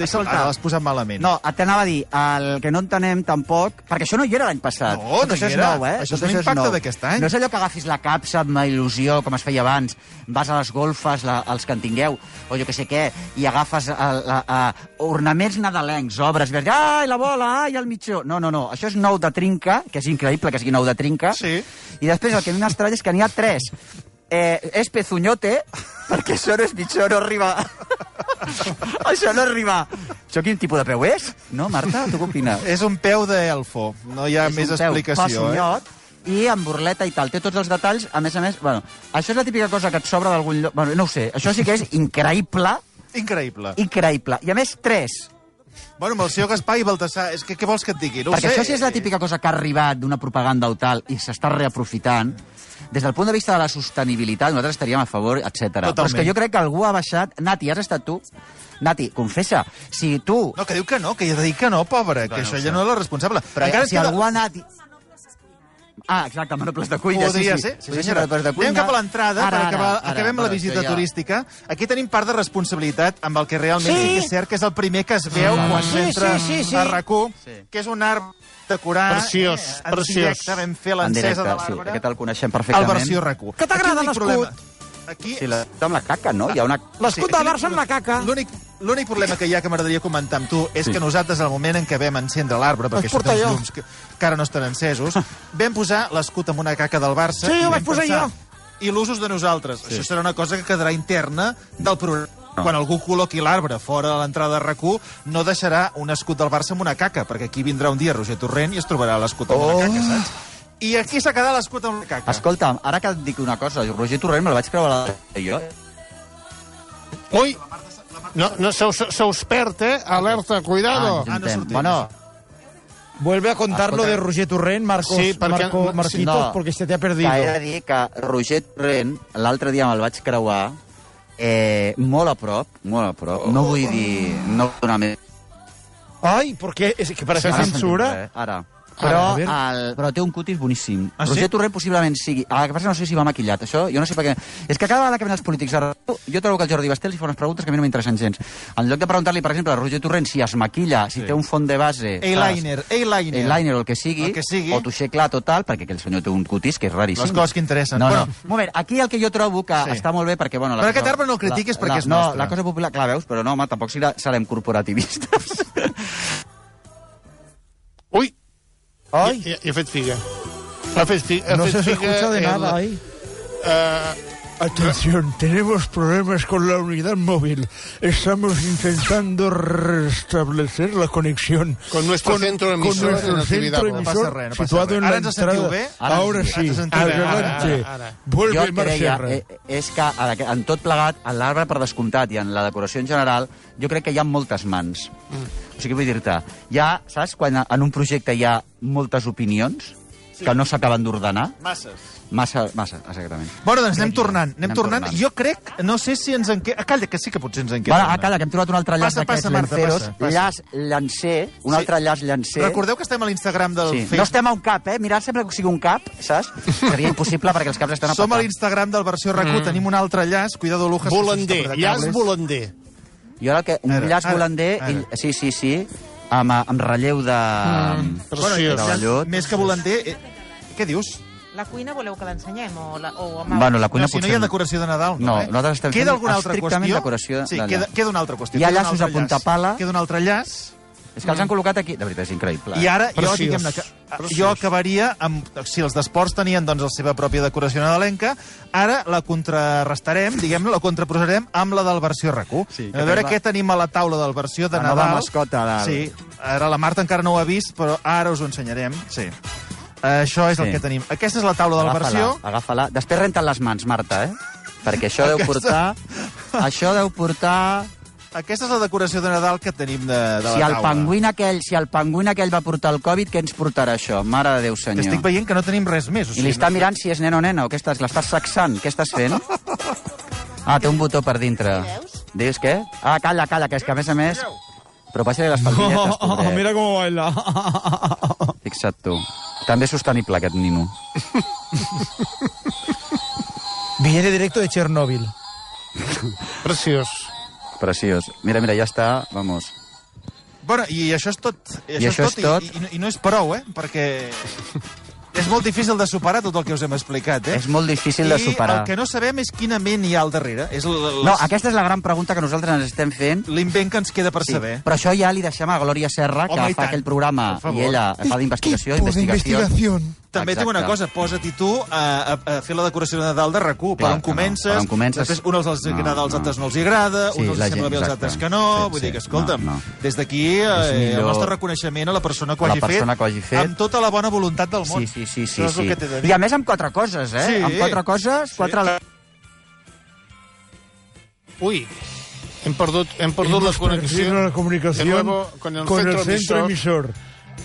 Speaker 3: deixa'l,
Speaker 4: escolta.
Speaker 3: ara l'has posat malament.
Speaker 4: No, t'anava a dir, el que no entenem tampoc... Perquè això no hi era l'any passat.
Speaker 3: No,
Speaker 4: Tot
Speaker 3: no
Speaker 4: això
Speaker 3: hi
Speaker 4: és
Speaker 3: era.
Speaker 4: nou, eh?
Speaker 3: Això és
Speaker 4: Tot
Speaker 3: un
Speaker 4: nou.
Speaker 3: impacte d'aquest any.
Speaker 4: No és allò que agafis la capsa amb la il·lusió, com es feia abans, vas a les golfes, la, els que en tingueu, o jo que sé què, i agafes el, la, a, ornaments nadalencs, obres, i vas dir, ai, la bola, ai, el mitjó. No, no, no, això és nou de trinca, que és increïble que sigui nou de trinca.
Speaker 3: Sí.
Speaker 4: I després el que a mi m'estranya és que n'hi ha tres. Eh, és pezuñote, perquè això no és mitjó, no arriba... això no arriba... Això quin tipus de peu és? No, Marta? Tu què opines?
Speaker 3: És un peu d'elfo, no hi ha
Speaker 4: és
Speaker 3: Eh, més
Speaker 4: un peu
Speaker 3: explicació. Eh?
Speaker 4: passunyot i amb burleta i tal. Té tots els detalls, a més a més... Bueno, això és la típica cosa que et sobra d'algun lloc... Bueno, no ho sé, això sí que és increïble,
Speaker 3: Increïble. I...
Speaker 4: increïble. I a més, tres.
Speaker 3: Bueno, amb el senyor Gaspar i Baltasar, és que què vols que et digui? No ho
Speaker 4: perquè
Speaker 3: sé.
Speaker 4: això sí és la típica cosa que ha arribat d'una propaganda o tal i s'està reaprofitant. Des del punt de vista de la sostenibilitat, nosaltres estaríem a favor, etc. Però és
Speaker 3: Totalment.
Speaker 4: que jo crec que algú ha baixat... Nati, has estat tu? Nati, confessa, si tu...
Speaker 3: No, que diu que no, que ja diu que no, pobra, que això ja no és la responsable.
Speaker 4: Però eh,
Speaker 3: Encara
Speaker 4: si
Speaker 3: ens queda-
Speaker 4: algú ha anat... i- Ah, exacte, manoples de cuina.
Speaker 3: Podria
Speaker 4: sí, sí.
Speaker 3: ser.
Speaker 4: Sí, sí,
Speaker 3: senyora.
Speaker 4: manoples de cuina.
Speaker 3: Anem cap a l'entrada, per
Speaker 4: Ara,
Speaker 3: acabar,
Speaker 4: ara, ara,
Speaker 3: acabem la
Speaker 4: però
Speaker 3: visita
Speaker 4: això ja-
Speaker 3: turística. Aquí tenim part de responsabilitat amb el que realment
Speaker 5: Sí.
Speaker 3: sí, que és cert, que és el primer que es veu
Speaker 5: Sí,
Speaker 3: quan
Speaker 5: sí,
Speaker 3: s'entra
Speaker 5: sí, sí, sí.
Speaker 3: a RAC1,
Speaker 4: Sí.
Speaker 3: que és un arbre decorat. eh,
Speaker 12: Preciós,
Speaker 3: en
Speaker 12: preciós.
Speaker 3: Directe, vam fer
Speaker 4: En
Speaker 3: l'encesa
Speaker 4: directe,
Speaker 3: de
Speaker 4: sí,
Speaker 3: l'arbre.
Speaker 4: aquest el coneixem
Speaker 3: al
Speaker 4: perfectament.
Speaker 3: versió RAC1.
Speaker 5: Que t'agrada
Speaker 3: Aquí l'únic
Speaker 5: l'escut?
Speaker 3: problema- Aquí,
Speaker 4: Sí, la, amb la caca, no? Hi ha una...
Speaker 5: L'escut
Speaker 3: Sí,
Speaker 5: del
Speaker 3: aquí
Speaker 5: Barça amb la caca.
Speaker 3: L'únic L'únic problema que hi ha que m'agradaria comentar amb tu és
Speaker 4: Sí.
Speaker 3: sí. que nosaltres, al moment en què vam encendre l'arbre, perquè
Speaker 5: Els
Speaker 3: això té
Speaker 5: porta
Speaker 3: uns
Speaker 5: jo.
Speaker 3: llums que, que ara no estan encesos, vam posar l'escut amb una caca del Barça.
Speaker 5: Sí,
Speaker 3: i
Speaker 5: ho
Speaker 3: vam
Speaker 5: vaig posar
Speaker 3: pensar,
Speaker 5: jo.
Speaker 3: I l'usos de nosaltres. Sí. Això serà una cosa que quedarà interna del programa.
Speaker 4: No.
Speaker 3: No. Quan algú col·loqui l'arbre fora de l'entrada de rac no deixarà un escut del Barça amb una caca, perquè aquí vindrà un dia Roger Torrent i es trobarà l'escut amb oh. una caca, saps? I aquí s'ha quedat l'escut amb una caca.
Speaker 4: Escolta'm, ara que et dic una cosa, jo, Roger Torrent me'l vaig creure a la... Jo?
Speaker 12: Ui! No, no, se, us, se us perd, eh? Alerta, cuidado.
Speaker 4: ens
Speaker 3: Ah, no
Speaker 4: juntem.
Speaker 3: sortim.
Speaker 4: bueno,
Speaker 5: Vuelve a contar lo
Speaker 4: Escolta.
Speaker 5: de Roger Torrent, Marcos,
Speaker 12: Sí, perquè-
Speaker 5: Marco, Marquitos,
Speaker 4: no.
Speaker 5: porque se te ha
Speaker 4: que
Speaker 5: perdido.
Speaker 4: he de dir que Roger Torrent, l'altre dia me'l vaig creuar, eh, molt a prop, molt a prop. No vull dir... No donar més...
Speaker 5: Ay, porque es que para esa
Speaker 4: Ara
Speaker 5: censura...
Speaker 4: sentim res, Ara. Però,
Speaker 5: Ara, a veure.
Speaker 4: el, però té un cutis boníssim.
Speaker 3: Ah, sí?
Speaker 4: Roger Torrent possiblement sigui... El que passa no sé si va maquillat, això, jo no sé per què... És que cada vegada que venen els polítics a raó, jo trobo que el Jordi Bastel li fa unes preguntes que a mi no m'interessen gens. En lloc de preguntar-li, per exemple, a Roger Torrent si es maquilla, si sí. té un fond de base... saps?
Speaker 3: Eyeliner, eyeliner.
Speaker 4: Eyeliner o el que sigui,
Speaker 3: El que sigui.
Speaker 4: o tuixer clar total, perquè aquell senyor té un cutis que és raríssim.
Speaker 3: Les coses que interessen.
Speaker 4: No, no.
Speaker 3: Bueno.
Speaker 4: Un moment, aquí el que jo trobo que
Speaker 3: Sí.
Speaker 4: sí. està molt bé, perquè... Bueno, la
Speaker 3: Però aquest
Speaker 4: cosa-
Speaker 3: arbre no el critiquis perquè és
Speaker 4: no,
Speaker 3: nostre.
Speaker 4: La cosa popular, clar, veus, però no, home, tampoc serà- serem corporativistes.
Speaker 12: Ui!
Speaker 5: Ay,
Speaker 12: I, i, i ha fet figa. Ha fet figa. Ha
Speaker 5: no
Speaker 12: fet
Speaker 5: se os
Speaker 12: figa
Speaker 5: escucha de
Speaker 12: el-
Speaker 5: nada ahí.
Speaker 12: Eh,
Speaker 5: Atención, tenemos problemas con la unidad móvil. Estamos intentando restablecer la conexión
Speaker 13: Con nuestro centro emisor
Speaker 5: con nuestro
Speaker 13: de natividad,
Speaker 5: centro
Speaker 13: no pasa
Speaker 5: emisor
Speaker 13: res, no pasa
Speaker 5: situado
Speaker 13: res.
Speaker 5: en
Speaker 13: Ara
Speaker 5: la
Speaker 13: ens sentiu
Speaker 5: entrada.
Speaker 13: bé? Ara ens-
Speaker 5: Ahora
Speaker 13: ens
Speaker 5: sí,
Speaker 13: sentiu bé, ara,
Speaker 5: adelante.
Speaker 13: ara, ara.
Speaker 4: jo
Speaker 5: Vuelve
Speaker 4: el que
Speaker 5: Marc
Speaker 4: deia
Speaker 5: Serra.
Speaker 4: eh, és que a la que- en tot plegat, en l'arbre per descomptat i en la decoració en general, jo crec que hi ha moltes mans.
Speaker 3: Mm.
Speaker 4: O sigui, vull dir-te, hi ha, saps, quan en un projecte hi ha moltes opinions
Speaker 3: Sí.
Speaker 4: que no s'acaben d'ordenar?
Speaker 3: Masses.
Speaker 4: Massa, massa, exactament.
Speaker 3: Bueno, doncs anem tornant, anem,
Speaker 4: Anem
Speaker 3: tornant.
Speaker 4: tornant.
Speaker 3: Jo crec, no sé si ens en queda... Calla, que sí que potser ens en queda.
Speaker 4: Vale, ah,
Speaker 3: una.
Speaker 4: calla, que hem trobat un altre llaç
Speaker 3: Passa,
Speaker 4: d'aquests
Speaker 3: passa, Marta,
Speaker 4: llanceros.
Speaker 3: passa, passa.
Speaker 4: Llaç llancer, un
Speaker 3: Sí.
Speaker 4: altre llaç llancer.
Speaker 3: Recordeu que estem a l'Instagram del
Speaker 4: Sí.
Speaker 3: Facebook.
Speaker 4: No estem a un cap, eh? Mirar sembla que sigui un cap, saps? Seria impossible perquè els caps estan a
Speaker 3: Som a
Speaker 4: petar.
Speaker 3: l'Instagram del Versió RAC1,
Speaker 4: Mm.
Speaker 3: mm. tenim un altre llaç, cuidado Lujas.
Speaker 4: Volander, llaç
Speaker 13: volander.
Speaker 4: Jo ara que... Un
Speaker 3: Ara,
Speaker 4: llaç
Speaker 3: ara,
Speaker 4: volander,
Speaker 3: ara.
Speaker 4: i- sí, sí, sí, amb, amb relleu de... Mm,
Speaker 3: Bueno, llaç, més que volander... Eh, què dius?
Speaker 14: La cuina voleu que l'ensenyem? O la, o amb...
Speaker 4: Bueno, la cuina
Speaker 3: no, si no
Speaker 4: potser
Speaker 3: hi ha
Speaker 4: no.
Speaker 3: decoració de Nadal, no,
Speaker 4: No,
Speaker 3: eh?
Speaker 4: nosaltres estem
Speaker 3: queda
Speaker 4: fent
Speaker 3: alguna altra
Speaker 4: estrictament
Speaker 3: qüestió?
Speaker 4: decoració
Speaker 3: Sí,
Speaker 4: de
Speaker 3: queda,
Speaker 4: llaç.
Speaker 3: queda una altra qüestió.
Speaker 4: Hi ha
Speaker 3: queda un
Speaker 4: llaços
Speaker 3: altre
Speaker 4: a punta pala.
Speaker 3: Queda un altre llaç.
Speaker 4: És que els han col·locat aquí... De veritat, és increïble. eh?
Speaker 3: I ara, jo, diguem-ne, que, eh, jo acabaria amb... Si els d'esports tenien, doncs, la seva pròpia decoració nadalenca, ara la contrarrestarem, diguem-ne, la contraposarem amb la del versió RAC1. Sí,
Speaker 4: que
Speaker 3: a veure
Speaker 4: tenim la-
Speaker 3: què tenim a la taula del versió de
Speaker 4: La nova
Speaker 3: Nadal.
Speaker 4: mascota del-
Speaker 3: Sí, ara la Marta encara no ho ha vist, però ara us ho ensenyarem. Sí. Eh, Això és el
Speaker 4: Sí.
Speaker 3: que tenim. Aquesta és la taula de la
Speaker 4: Agafa-la,
Speaker 3: versió.
Speaker 4: Agafa-la. Després renta't les mans, Marta, eh? Perquè això deu portar... Això deu portar...
Speaker 3: Aquesta és la decoració de Nadal que tenim de, de la
Speaker 4: Si el
Speaker 3: taula.
Speaker 4: pangüin aquell, si el pangüin aquell va portar el Covid, què ens portarà això? Mare de Déu,
Speaker 3: Que
Speaker 4: senyor.
Speaker 3: estic veient que no tenim res més. O
Speaker 4: I
Speaker 3: sigui,
Speaker 4: li
Speaker 3: no...
Speaker 4: està mirant si és nen o nena, o què estàs? L'estàs sacsant? Què estàs fent? Ah, té un botó per dintre. Dius què? Ah, calla, calla, que és que a més a més... Però passa-li les faldilletes,
Speaker 15: Oh,
Speaker 4: pobret.
Speaker 15: mira com baila.
Speaker 4: Fixa't tu. També és sostenible, aquest nino.
Speaker 15: Viene directo de Chernóbil.
Speaker 13: Preciós.
Speaker 4: Preciós. Mira, mira, ja està, vamos.
Speaker 3: Bueno, i això és tot.
Speaker 4: I això és tot.
Speaker 3: I, i, no- I no és prou, eh? Perquè és molt difícil de superar tot el que us hem explicat, eh?
Speaker 4: És molt difícil de
Speaker 3: I
Speaker 4: superar.
Speaker 3: el que no sabem és quina ment hi ha al darrere. És l- l-
Speaker 4: No, aquesta és la gran pregunta que nosaltres ens estem fent.
Speaker 3: L'invent que ens queda per saber.
Speaker 4: Però això ja li deixem a Glòria Serra, que
Speaker 3: Home, i
Speaker 4: fa
Speaker 3: tant.
Speaker 4: aquell programa,
Speaker 3: Per favor.
Speaker 4: i ella fa d'investigació, investigació.
Speaker 3: També tinc una
Speaker 4: Exacte.
Speaker 3: cosa, posa't-hi tu a, a, a fer la decoració de Nadal de RAC1, per
Speaker 4: Clar
Speaker 3: on
Speaker 4: que no,
Speaker 3: comences,
Speaker 4: per on comences.
Speaker 3: després uns els
Speaker 4: No,
Speaker 3: agrada, als
Speaker 4: no.
Speaker 3: altres no els hi agrada,
Speaker 4: Sí,
Speaker 3: uns els
Speaker 4: la
Speaker 3: sembla
Speaker 4: gent,
Speaker 3: bé, els
Speaker 4: exacte.
Speaker 3: altres que no,
Speaker 4: Sí,
Speaker 3: vull
Speaker 4: sí,
Speaker 3: dir que, escolta'm,
Speaker 4: no, no.
Speaker 3: des d'aquí eh,
Speaker 4: millor
Speaker 3: el nostre reconeixement a la persona que ho
Speaker 4: a la
Speaker 3: hagi fet,
Speaker 4: persona que ho hagi fet.
Speaker 3: amb tota la bona voluntat del món.
Speaker 4: Sí, sí, sí, sí.
Speaker 3: Això és el
Speaker 4: sí.
Speaker 3: que t'he de dir.
Speaker 4: I a més amb quatre coses, eh?
Speaker 3: Sí.
Speaker 4: Amb quatre coses, quatre... Sí.
Speaker 13: Ui, hem perdut, hem perdut la
Speaker 5: Hemos perdido
Speaker 13: connexió.
Speaker 5: la comunicación
Speaker 13: de nuevo con el centro emisor
Speaker 5: emisor.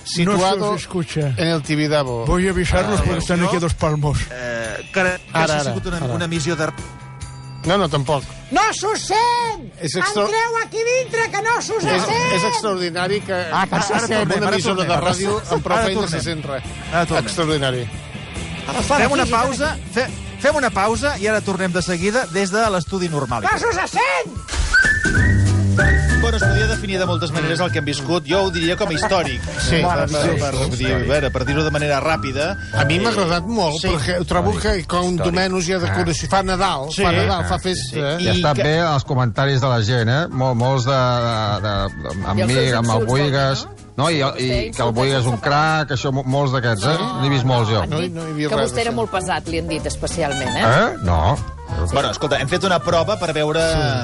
Speaker 13: situado
Speaker 5: No se os escucha.
Speaker 13: en el Tibidabo.
Speaker 5: Voy a avisarlos porque están aquí a dos palmos.
Speaker 3: Eh, que ara,
Speaker 13: Ara,
Speaker 3: ara, ha
Speaker 13: ara,
Speaker 3: sigut una,
Speaker 13: ara.
Speaker 3: una missió de...
Speaker 13: No, no, tampoc.
Speaker 6: No s'ho sent!
Speaker 13: És extra-
Speaker 6: Entreu aquí dintre, que no s'ho
Speaker 13: És,
Speaker 6: sent!
Speaker 13: és extraordinari que,
Speaker 4: Ah, que se
Speaker 13: Ara
Speaker 4: sent.
Speaker 13: tornem, una
Speaker 4: Ara
Speaker 13: emissora de
Speaker 4: tornem.
Speaker 13: ràdio amb prou
Speaker 3: Ara
Speaker 13: feina
Speaker 3: tornem.
Speaker 13: se sent res.
Speaker 3: Ara tornem.
Speaker 13: Extraordinari.
Speaker 3: Fem una pausa, fe, fem una pausa i ara tornem de seguida des de l'estudi normal.
Speaker 4: Ah,
Speaker 6: No s'ho sent!
Speaker 3: Bueno, es podia definir de moltes maneres el que hem viscut. Jo ho diria com a històric.
Speaker 13: Sí.
Speaker 3: per, per, per, per, dir, a veure, per dir-ho de manera ràpida...
Speaker 13: A mi m'ha agradat molt, sí. perquè trobo que com Domenus ja de decoració. Fa Nadal,
Speaker 3: Sí.
Speaker 13: sí. fa este, Nadal, fa
Speaker 3: Ah,
Speaker 13: festa.
Speaker 3: sí.
Speaker 13: Sí.
Speaker 8: I
Speaker 3: I
Speaker 8: ja estan
Speaker 3: que-
Speaker 8: que... bé els comentaris de la gent, eh? Mol, molts de, de, de,
Speaker 7: I
Speaker 8: amb
Speaker 7: els
Speaker 8: mi,
Speaker 7: seus
Speaker 8: amb el
Speaker 7: insults,
Speaker 8: Buigas... No, i, i que el Buigas és un crac, això, mo- molts d'aquests, eh? N'he vist molts, jo.
Speaker 13: No, no hi havia
Speaker 7: Que
Speaker 13: res
Speaker 7: vostè era molt pesat, li han dit especialment,
Speaker 4: Ah.
Speaker 7: eh?
Speaker 8: Eh? No.
Speaker 3: Bueno, escolta, hem fet una prova per veure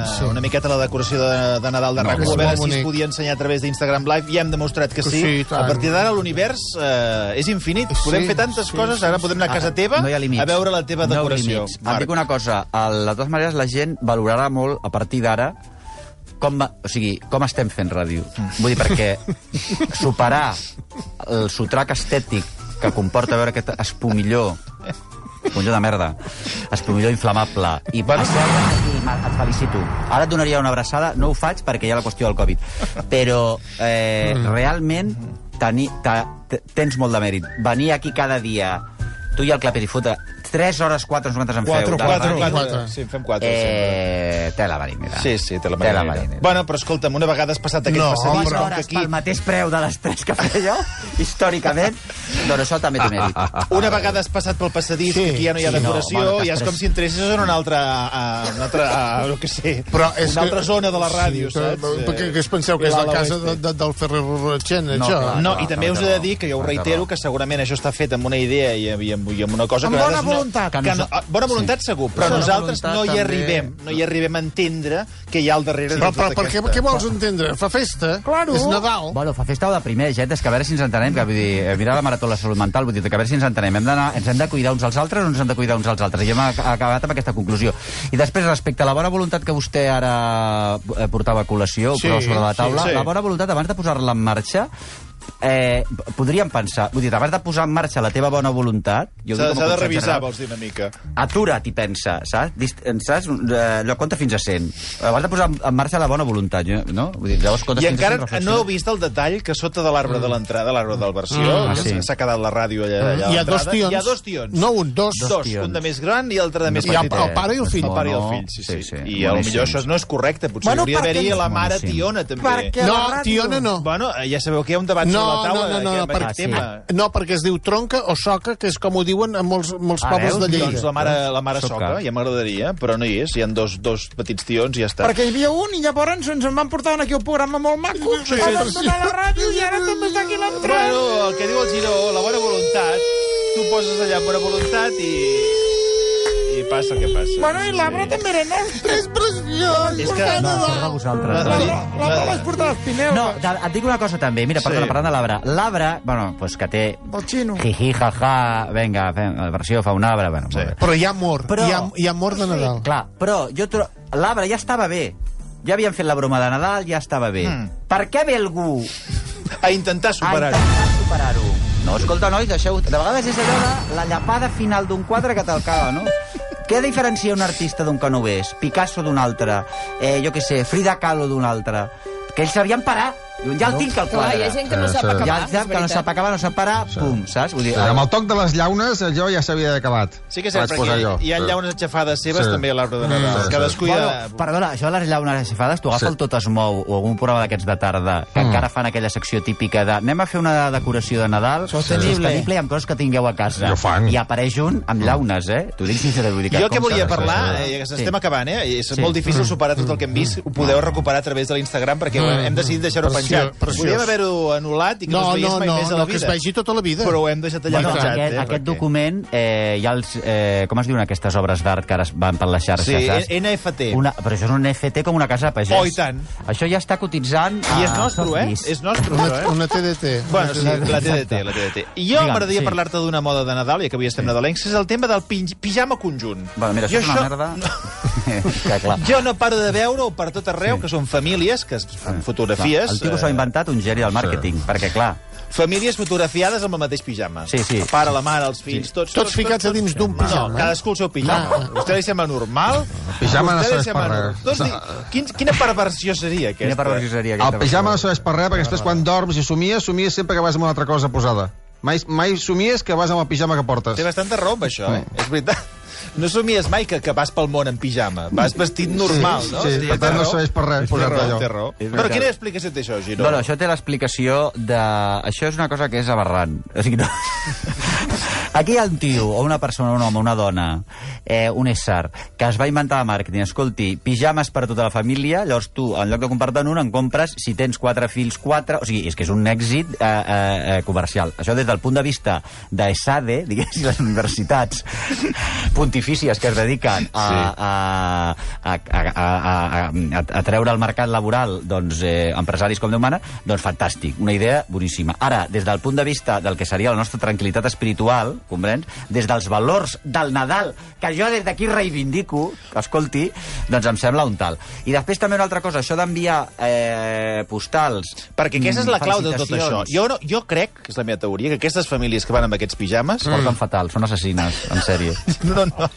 Speaker 3: sí, sí. una miqueta la decoració de, de Nadal de
Speaker 8: No,
Speaker 3: no, RAC1,
Speaker 8: molt
Speaker 3: a veure si
Speaker 13: bonic.
Speaker 3: es podia ensenyar a través d'Instagram Live, i hem demostrat que
Speaker 13: Que
Speaker 3: sí.
Speaker 13: sí, i tant.
Speaker 3: a partir d'ara l'univers eh, és infinit.
Speaker 13: Sí,
Speaker 3: podem fer tantes
Speaker 13: sí,
Speaker 3: coses,
Speaker 13: sí,
Speaker 3: ara podem anar a casa teva
Speaker 4: no hi ha límits.
Speaker 3: a veure la teva decoració.
Speaker 4: No Et dic una cosa, a les dues maneres la gent valorarà molt a partir d'ara com, va, o sigui, com estem fent ràdio. Vull dir, perquè superar el sotrac estètic que comporta veure aquest espumilló espumilló de merda, espumilló inflamable i bueno, aquí, Marc, et felicito ara et donaria una abraçada, no ho faig perquè hi ha la qüestió del Covid però eh,
Speaker 3: Mm.
Speaker 4: realment tenir, ta, te- tens molt de mèrit venir aquí cada dia tu i el Claperifuta 3 hores 4 nosaltres en feu de
Speaker 3: quatre,
Speaker 4: ràdio.
Speaker 3: quatre. Sí, fem quatre. sempre.
Speaker 4: Eh, té la marinera.
Speaker 3: Sí, sí, te la
Speaker 4: Té
Speaker 3: marinera.
Speaker 4: la marinera.
Speaker 3: Bueno, però escolta'm, una vegada has passat aquest
Speaker 13: No,
Speaker 3: passadís...
Speaker 4: Dues
Speaker 3: com que
Speaker 4: hores pel mateix preu de les tres que feia jo, històricament, doncs això també té mèrit.
Speaker 3: Una vegada has passat pel passadís,
Speaker 13: Sí,
Speaker 3: sí, que ja no hi ha
Speaker 4: sí,
Speaker 3: decoració,
Speaker 4: no,
Speaker 3: no,
Speaker 4: bueno,
Speaker 3: ja és
Speaker 4: després-
Speaker 3: com si entressis en una altra... A, una altra a, no que sé,
Speaker 13: Però és
Speaker 3: una altra
Speaker 13: que-
Speaker 3: zona de la ràdio,
Speaker 13: sí,
Speaker 3: saps?
Speaker 13: Però, perquè,
Speaker 3: Eh,
Speaker 13: que es penseu que és
Speaker 3: Lala
Speaker 13: la casa
Speaker 3: Oeste.
Speaker 13: de, de, del Ferrer Rochen,
Speaker 4: No,
Speaker 13: això?
Speaker 4: clar.
Speaker 3: No, i també
Speaker 4: no,
Speaker 3: us
Speaker 4: té
Speaker 3: he de
Speaker 4: raó,
Speaker 3: dir que jo ho
Speaker 4: no, té
Speaker 3: reitero
Speaker 4: raó.
Speaker 3: que segurament això està fet amb una idea i, i, amb, i amb una cosa
Speaker 6: Amb
Speaker 3: que a
Speaker 6: bona
Speaker 3: vegades no,
Speaker 9: voluntat.
Speaker 3: Que no, ah, bona voluntat sí. segur, però
Speaker 9: Bona
Speaker 3: nosaltres
Speaker 9: voluntat
Speaker 3: no hi
Speaker 9: també.
Speaker 3: arribem, no hi arribem a entendre què hi ha al darrere tota
Speaker 13: Però, però, per què, què vols entendre? Fa festa? Claro. És Nadal.
Speaker 4: Bueno, fa festa o deprimeix, eh? És que a veure si ens entenem, que vull dir, eh, mirar la marató de la salut mental, vull dir, que a veure si ens entenem. Hem d'anar- ens hem de cuidar uns als altres o ens hem de cuidar uns als altres? I hem ac- acabat amb aquesta conclusió. I després, respecte a la bona voluntat que vostè ara eh, portava a col·lació,
Speaker 11: Sí,
Speaker 4: sí, sobre la taula,
Speaker 11: sí,
Speaker 4: sí,
Speaker 11: sí.
Speaker 4: sí. la bona voluntat, abans de posar-la en marxa, eh, podríem pensar, vull dir, abans de posar en marxa la teva bona voluntat... jo ho
Speaker 3: S'ha s'ha
Speaker 4: dic com a
Speaker 3: de
Speaker 4: consell
Speaker 3: revisar,
Speaker 4: general,
Speaker 3: vols dir, una mica.
Speaker 4: Atura't i pensa, saps? Dist- en Saps? Eh, allò compta fins a 100. Abans de posar en marxa la bona voluntat, jo- no? Vull dir, llavors compta
Speaker 3: I
Speaker 4: fins
Speaker 3: encara
Speaker 4: a 100,
Speaker 3: no
Speaker 4: reflexiona.
Speaker 3: heu vist el detall que sota de l'arbre de
Speaker 13: Mm.
Speaker 3: l'entrada, l'arbre del versió,
Speaker 4: Ah,
Speaker 3: ah,
Speaker 4: sí.
Speaker 3: sí. s'ha quedat la ràdio allà, allà a
Speaker 13: Hi ha dos
Speaker 3: l'entrada.
Speaker 13: tions.
Speaker 3: Hi ha dos tions.
Speaker 13: No un, Mm. dos.
Speaker 3: Dos, dos un de més gran i l'altre de més
Speaker 13: Hi ha
Speaker 3: petit.
Speaker 13: el pare i el fill.
Speaker 3: El pare i el
Speaker 13: No,
Speaker 3: fill, sí, sí.
Speaker 13: sí, sí.
Speaker 3: I a lo
Speaker 13: Boníssim.
Speaker 3: millor això no és correcte. Potser bueno,
Speaker 13: Bueno,
Speaker 3: hauria
Speaker 13: perquè-
Speaker 3: d'haver-hi la mare
Speaker 13: Boníssim.
Speaker 3: tiona, també.
Speaker 13: Perquè la No, ràdio- tiona no.
Speaker 3: Bueno, eh, ja sabeu que hi ha un debat
Speaker 13: no,
Speaker 3: sobre la taula
Speaker 13: no, no, no,
Speaker 3: aquest, aquest tema.
Speaker 13: no, perquè es diu tronca o soca, que és com ho diuen en molts, molts
Speaker 3: Ah,
Speaker 13: pobles
Speaker 3: veus?
Speaker 13: de Lleida.
Speaker 3: Doncs la mare, la mare
Speaker 13: Soca.
Speaker 3: soca, ja m'agradaria, però no hi és. Hi ha dos, dos petits tions i ja està.
Speaker 9: Perquè hi havia un i llavors ens en van portar aquí un programa molt maco, sí, sí, sí, sí. la ràdio i ara tot està aquí l'entrada.
Speaker 3: Bueno, el que diu el Giró, la bona voluntat, tu poses allà amb bona voluntat i... I passa el que passa.
Speaker 9: Bueno, i l'arbre també era nostre. És preciós.
Speaker 3: És que-
Speaker 4: No, perdó a vosaltres. eh?
Speaker 9: L'arbre vaig portar als Pineus.
Speaker 4: No, de- et dic una cosa també, mira, perdona,
Speaker 9: Sí.
Speaker 4: parlant de l'arbre. L'arbre, bueno, pues que té...
Speaker 9: El xino.
Speaker 4: Jiji, jaja, venga, fem, la versió fa un arbre, bueno, sí.
Speaker 13: Però hi ha amor,
Speaker 4: Però-
Speaker 13: però... hi, ha, hi ha amor de Nadal.
Speaker 4: Clar, però jo tro... l'arbre ja estava bé. Ja havien fet la broma de Nadal, ja estava bé. Mm. Per què ve algú...
Speaker 3: A intentar
Speaker 4: superar-ho. A intentar superar-ho. No, escolta, nois, deixeu... De vegades és allò de la llapada final d'un quadre que t'alcava, no? Què diferencia un artista d'un que no ho és? Picasso d'un altre, eh, jo què sé, Frida Kahlo d'un altre... Que ells sabien parar. Diuen, ja el tinc, el
Speaker 7: Clar,
Speaker 4: quadre.
Speaker 7: hi ha gent que no
Speaker 4: Sí,
Speaker 7: sap
Speaker 4: sí.
Speaker 7: acabar,
Speaker 4: Ja el
Speaker 7: és
Speaker 4: sap que no
Speaker 7: veritat.
Speaker 4: sap acabar, no sap parar, pum, saps? Vull dir,
Speaker 8: Eh,
Speaker 4: eh,
Speaker 8: Amb el toc de les llaunes, jo ja s'havia acabat.
Speaker 3: Sí que és cert,
Speaker 8: Vaig posar
Speaker 3: perquè
Speaker 8: jo.
Speaker 3: hi ha llaunes aixafades seves
Speaker 8: Sí.
Speaker 3: també a l'arbre de Nadal.
Speaker 8: Mm, sí, sí.
Speaker 3: Cadascú hi ha...
Speaker 4: Bueno, perdona, això de les llaunes aixafades, tu agafa sí. el Tot es mou o algun programa d'aquests de tarda que mm. encara fan aquella secció típica de anem a fer una decoració de Nadal
Speaker 3: Sostenible.
Speaker 4: sostenible i amb coses que tingueu a casa.
Speaker 8: I ho fan.
Speaker 4: I apareix un amb llaunes, eh? T'ho dic sincerament. Vull dir
Speaker 3: Jo el que
Speaker 4: com
Speaker 3: volia
Speaker 4: que-
Speaker 3: parlar,
Speaker 4: Sí.
Speaker 3: eh, que estem acabant, eh? i És
Speaker 4: Sí.
Speaker 3: molt
Speaker 8: Mm.
Speaker 3: difícil superar tot el que hem vist. Ho podeu recuperar a través de l'Instagram perquè ho
Speaker 8: Mm.
Speaker 3: hem decidit deixar-ho
Speaker 13: Preciós,
Speaker 3: penjat.
Speaker 13: preciós.
Speaker 3: Podríem haver-ho anul·lat i que no,
Speaker 13: No,
Speaker 3: es veiés
Speaker 13: no,
Speaker 3: mai
Speaker 13: no,
Speaker 3: més a
Speaker 13: no,
Speaker 3: la vida.
Speaker 13: que es vegi tota la vida.
Speaker 3: Però ho hem deixat allà
Speaker 4: Bueno,
Speaker 3: penjat.
Speaker 4: aquest,
Speaker 3: eh,
Speaker 4: aquest document, eh, ja els, eh, com es diuen aquestes obres d'art que ara es van per les xarxes?
Speaker 3: Sí,
Speaker 4: saps?
Speaker 3: NFT.
Speaker 4: Una, però això és un NFT com una casa de pagès.
Speaker 3: Oh, i tant.
Speaker 4: Això ja està cotitzant...
Speaker 3: I és
Speaker 4: a
Speaker 3: nostre,
Speaker 4: Sotheby's.
Speaker 3: eh? És nostre,
Speaker 13: Una,
Speaker 3: eh?
Speaker 13: una TDT.
Speaker 3: Bueno,
Speaker 13: Una
Speaker 3: sí, la TDT, la TDT. I jo
Speaker 13: Digue'm,
Speaker 3: m'agradaria
Speaker 13: sí.
Speaker 3: parlar-te d'una moda de Nadal, ja que avui estem nadalencs, que és el tema del pin- pijama conjunt.
Speaker 4: Bueno, mira, això
Speaker 3: Jo
Speaker 4: és una
Speaker 3: això-
Speaker 4: merda... que, clar.
Speaker 3: Jo no paro de veure-ho per tot arreu, que són famílies que es fan fotografies...
Speaker 4: Clar, el tio
Speaker 3: eh,
Speaker 4: s'ho ha inventat un geni del màrqueting, sí. perquè, clar...
Speaker 3: Famílies fotografiades amb el mateix pijama.
Speaker 4: Sí, sí.
Speaker 3: El pare, la mare, els fills, sí. tots,
Speaker 13: Tots ficats a dins d'un pijama,
Speaker 3: No,
Speaker 13: eh?
Speaker 3: cadascú el seu pijama.
Speaker 13: Va.
Speaker 3: A vostè li sembla normal? A
Speaker 8: Pijama
Speaker 3: vostè
Speaker 8: no
Speaker 3: li
Speaker 8: serveix
Speaker 3: sembla
Speaker 8: per
Speaker 3: normal.
Speaker 8: res.
Speaker 3: Doncs, dic, quin, quina perversió seria aquesta?
Speaker 8: Eh, El pijama no serveix per res, perquè després quan dorms i somies, somies sempre que vas amb una altra cosa posada. Mai, mai somies que vas amb el pijama que portes.
Speaker 3: Té bastanta raó amb això, eh? És veritat. No somies mai que, que vas pel món en pijama. Vas vestit normal,
Speaker 8: Sí,
Speaker 3: no?
Speaker 8: sí,
Speaker 3: És a dir,
Speaker 8: per tant,
Speaker 3: té
Speaker 8: no
Speaker 3: raó.
Speaker 8: serveix per res
Speaker 3: Té
Speaker 8: posar-te
Speaker 3: raó,
Speaker 8: allò.
Speaker 3: té raó.
Speaker 4: És
Speaker 3: Però
Speaker 4: veritat.
Speaker 3: quina explicació té això, Giró?
Speaker 4: No, no, això té l'explicació de... Això és una cosa que és aberrant. O sigui, no... Aquí hi ha un tio, o una persona, un home, una dona, eh, un ésser, que es va inventar el màrqueting. Escolti, pijames per tota la família, llavors tu, en lloc de comprar-te'n un, en compres, si tens quatre fills, quatre... O sigui, és que és un èxit eh, eh, eh, comercial. Això des del punt de vista d'ESADE, diguéssim, les universitats pontifícies que es dediquen a,
Speaker 11: Sí.
Speaker 4: a, a, a, a, a, a, a treure al mercat laboral doncs, eh, empresaris com Déu mana, doncs fantàstic, una idea boníssima. Ara, des del punt de vista del que seria la nostra tranquil·litat espiritual, comprens? Des dels valors del Nadal, que jo des d'aquí reivindico, escolti, doncs em sembla un tal. I després també una altra cosa, això d'enviar eh, postals...
Speaker 3: Perquè aquesta és la clau de tot això.
Speaker 4: Jo...
Speaker 3: Jo, no, jo crec, que és la meva teoria, que aquestes famílies que van amb aquests pijames...
Speaker 4: Mm. Porten fatal, són assassines, en sèrio.
Speaker 3: No, no,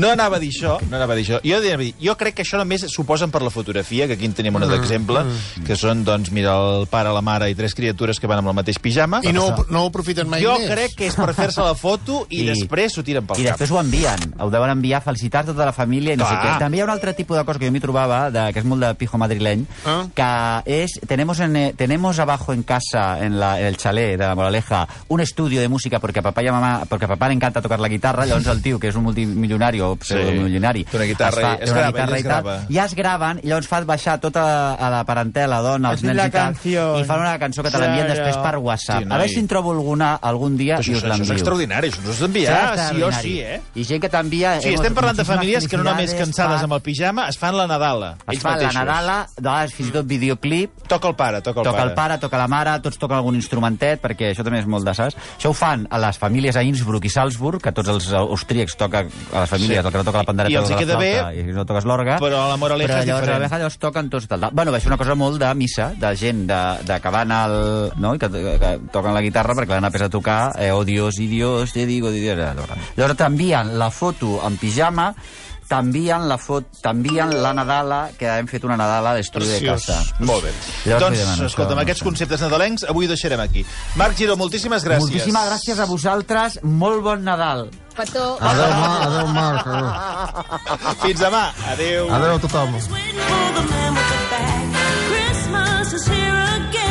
Speaker 3: no anava a dir això, no anava a dir això. Jo, anava a dir, jo crec que això només s'ho posen per la fotografia, que aquí en
Speaker 4: Mm,
Speaker 3: tenim una d'exemple, que són, doncs, mira, el pare, la mare i tres criatures que van amb el mateix pijama.
Speaker 13: I no, ho- no ho aprofiten mai
Speaker 3: jo
Speaker 13: més.
Speaker 3: crec que és per fer-se la foto i,
Speaker 4: I-
Speaker 3: I després s'ho tiren pel
Speaker 4: I
Speaker 3: cap.
Speaker 4: després ho envien, ho deuen enviar, felicitar tota la família i no sé
Speaker 3: Clar.
Speaker 4: què. També hi ha un altre tipus de cosa que jo m'hi trobava, de, que és molt de pijo madrileny, ah. que és, tenemos, en, eh, tenemos abajo en casa, en, la, en el xalet de la Moraleja, un estudio de música porque a papá y a mamá, porque a papá le encanta tocar la guitarra, llavors el tio, que és un multimilionari o pseudomilionari,
Speaker 3: Té una guitarra
Speaker 4: es fa-
Speaker 3: i-
Speaker 4: té
Speaker 3: es
Speaker 4: una
Speaker 3: grava,
Speaker 4: guitarra
Speaker 3: ell es
Speaker 4: i tal,
Speaker 3: grava.
Speaker 4: ja es graven, i llavors fa baixar tota a la parentela, dona, els
Speaker 9: Has dit
Speaker 4: nens
Speaker 9: la
Speaker 4: i tal,
Speaker 9: canción.
Speaker 4: i fan una cançó que te l'envien
Speaker 9: Claro.
Speaker 4: després per WhatsApp.
Speaker 9: Sí,
Speaker 4: a
Speaker 9: noi.
Speaker 4: veure si en trobo alguna algun dia
Speaker 3: Això
Speaker 4: i
Speaker 3: és-
Speaker 4: us
Speaker 3: això és
Speaker 4: l'envio.
Speaker 3: extraordinari. extraordinari, això ens ho has d'enviar,
Speaker 4: Serà
Speaker 3: sí o
Speaker 4: extraordinari.
Speaker 3: sí, eh?
Speaker 4: I gent que t'envia...
Speaker 3: Sí, estem parlant de famílies que no només cansades amb el pijama, es fan la Nadala.
Speaker 4: Es
Speaker 3: ells
Speaker 4: fa la
Speaker 3: mateixos.
Speaker 4: Nadala, de vegades fins i tot videoclip.
Speaker 3: Toca el pare, toca el
Speaker 4: toca
Speaker 3: pare.
Speaker 4: el pare, toca la mare, tots toquen algun instrumentet, perquè això també és molt de saps. Això ho fan a les famílies a Innsbruck i Salzburg, que tots els austríacs toquen a les famílies,
Speaker 3: Sí.
Speaker 4: el que no toca la pandereta
Speaker 3: I els hi
Speaker 4: toca la
Speaker 3: queda
Speaker 4: flauta,
Speaker 3: bé,
Speaker 4: i no toques l'orga.
Speaker 3: però a la Moraleja
Speaker 4: Però
Speaker 3: és
Speaker 4: llavors
Speaker 3: diferent.
Speaker 4: a la Moraleja llavors toquen tots del... Bueno, va ser una cosa molt de missa, de gent de, de que van al... No? I que, que, que toquen la guitarra perquè l'han après a tocar eh, oh Dios, i Dios, te digo, di Dios. Llavors t'envien la foto en pijama t'envien la fot, t'envien la Nadala, que hem fet una Nadala d'estudi de
Speaker 3: Preciós.
Speaker 4: casa.
Speaker 3: Molt bé.
Speaker 4: Llavors
Speaker 3: doncs,
Speaker 4: vull demanar això,
Speaker 3: escolta, amb
Speaker 4: no
Speaker 3: aquests
Speaker 4: sé.
Speaker 3: conceptes nadalencs, avui ho deixarem aquí. Marc Giró, moltíssimes gràcies.
Speaker 4: Moltíssimes gràcies a vosaltres. Molt bon Nadal.
Speaker 6: Petó.
Speaker 13: Ah.
Speaker 8: Adéu, Marc, adéu, Marc. Adéu.
Speaker 3: Fins demà. Adéu.
Speaker 8: Adéu a tothom.
Speaker 16: Christmas is here again.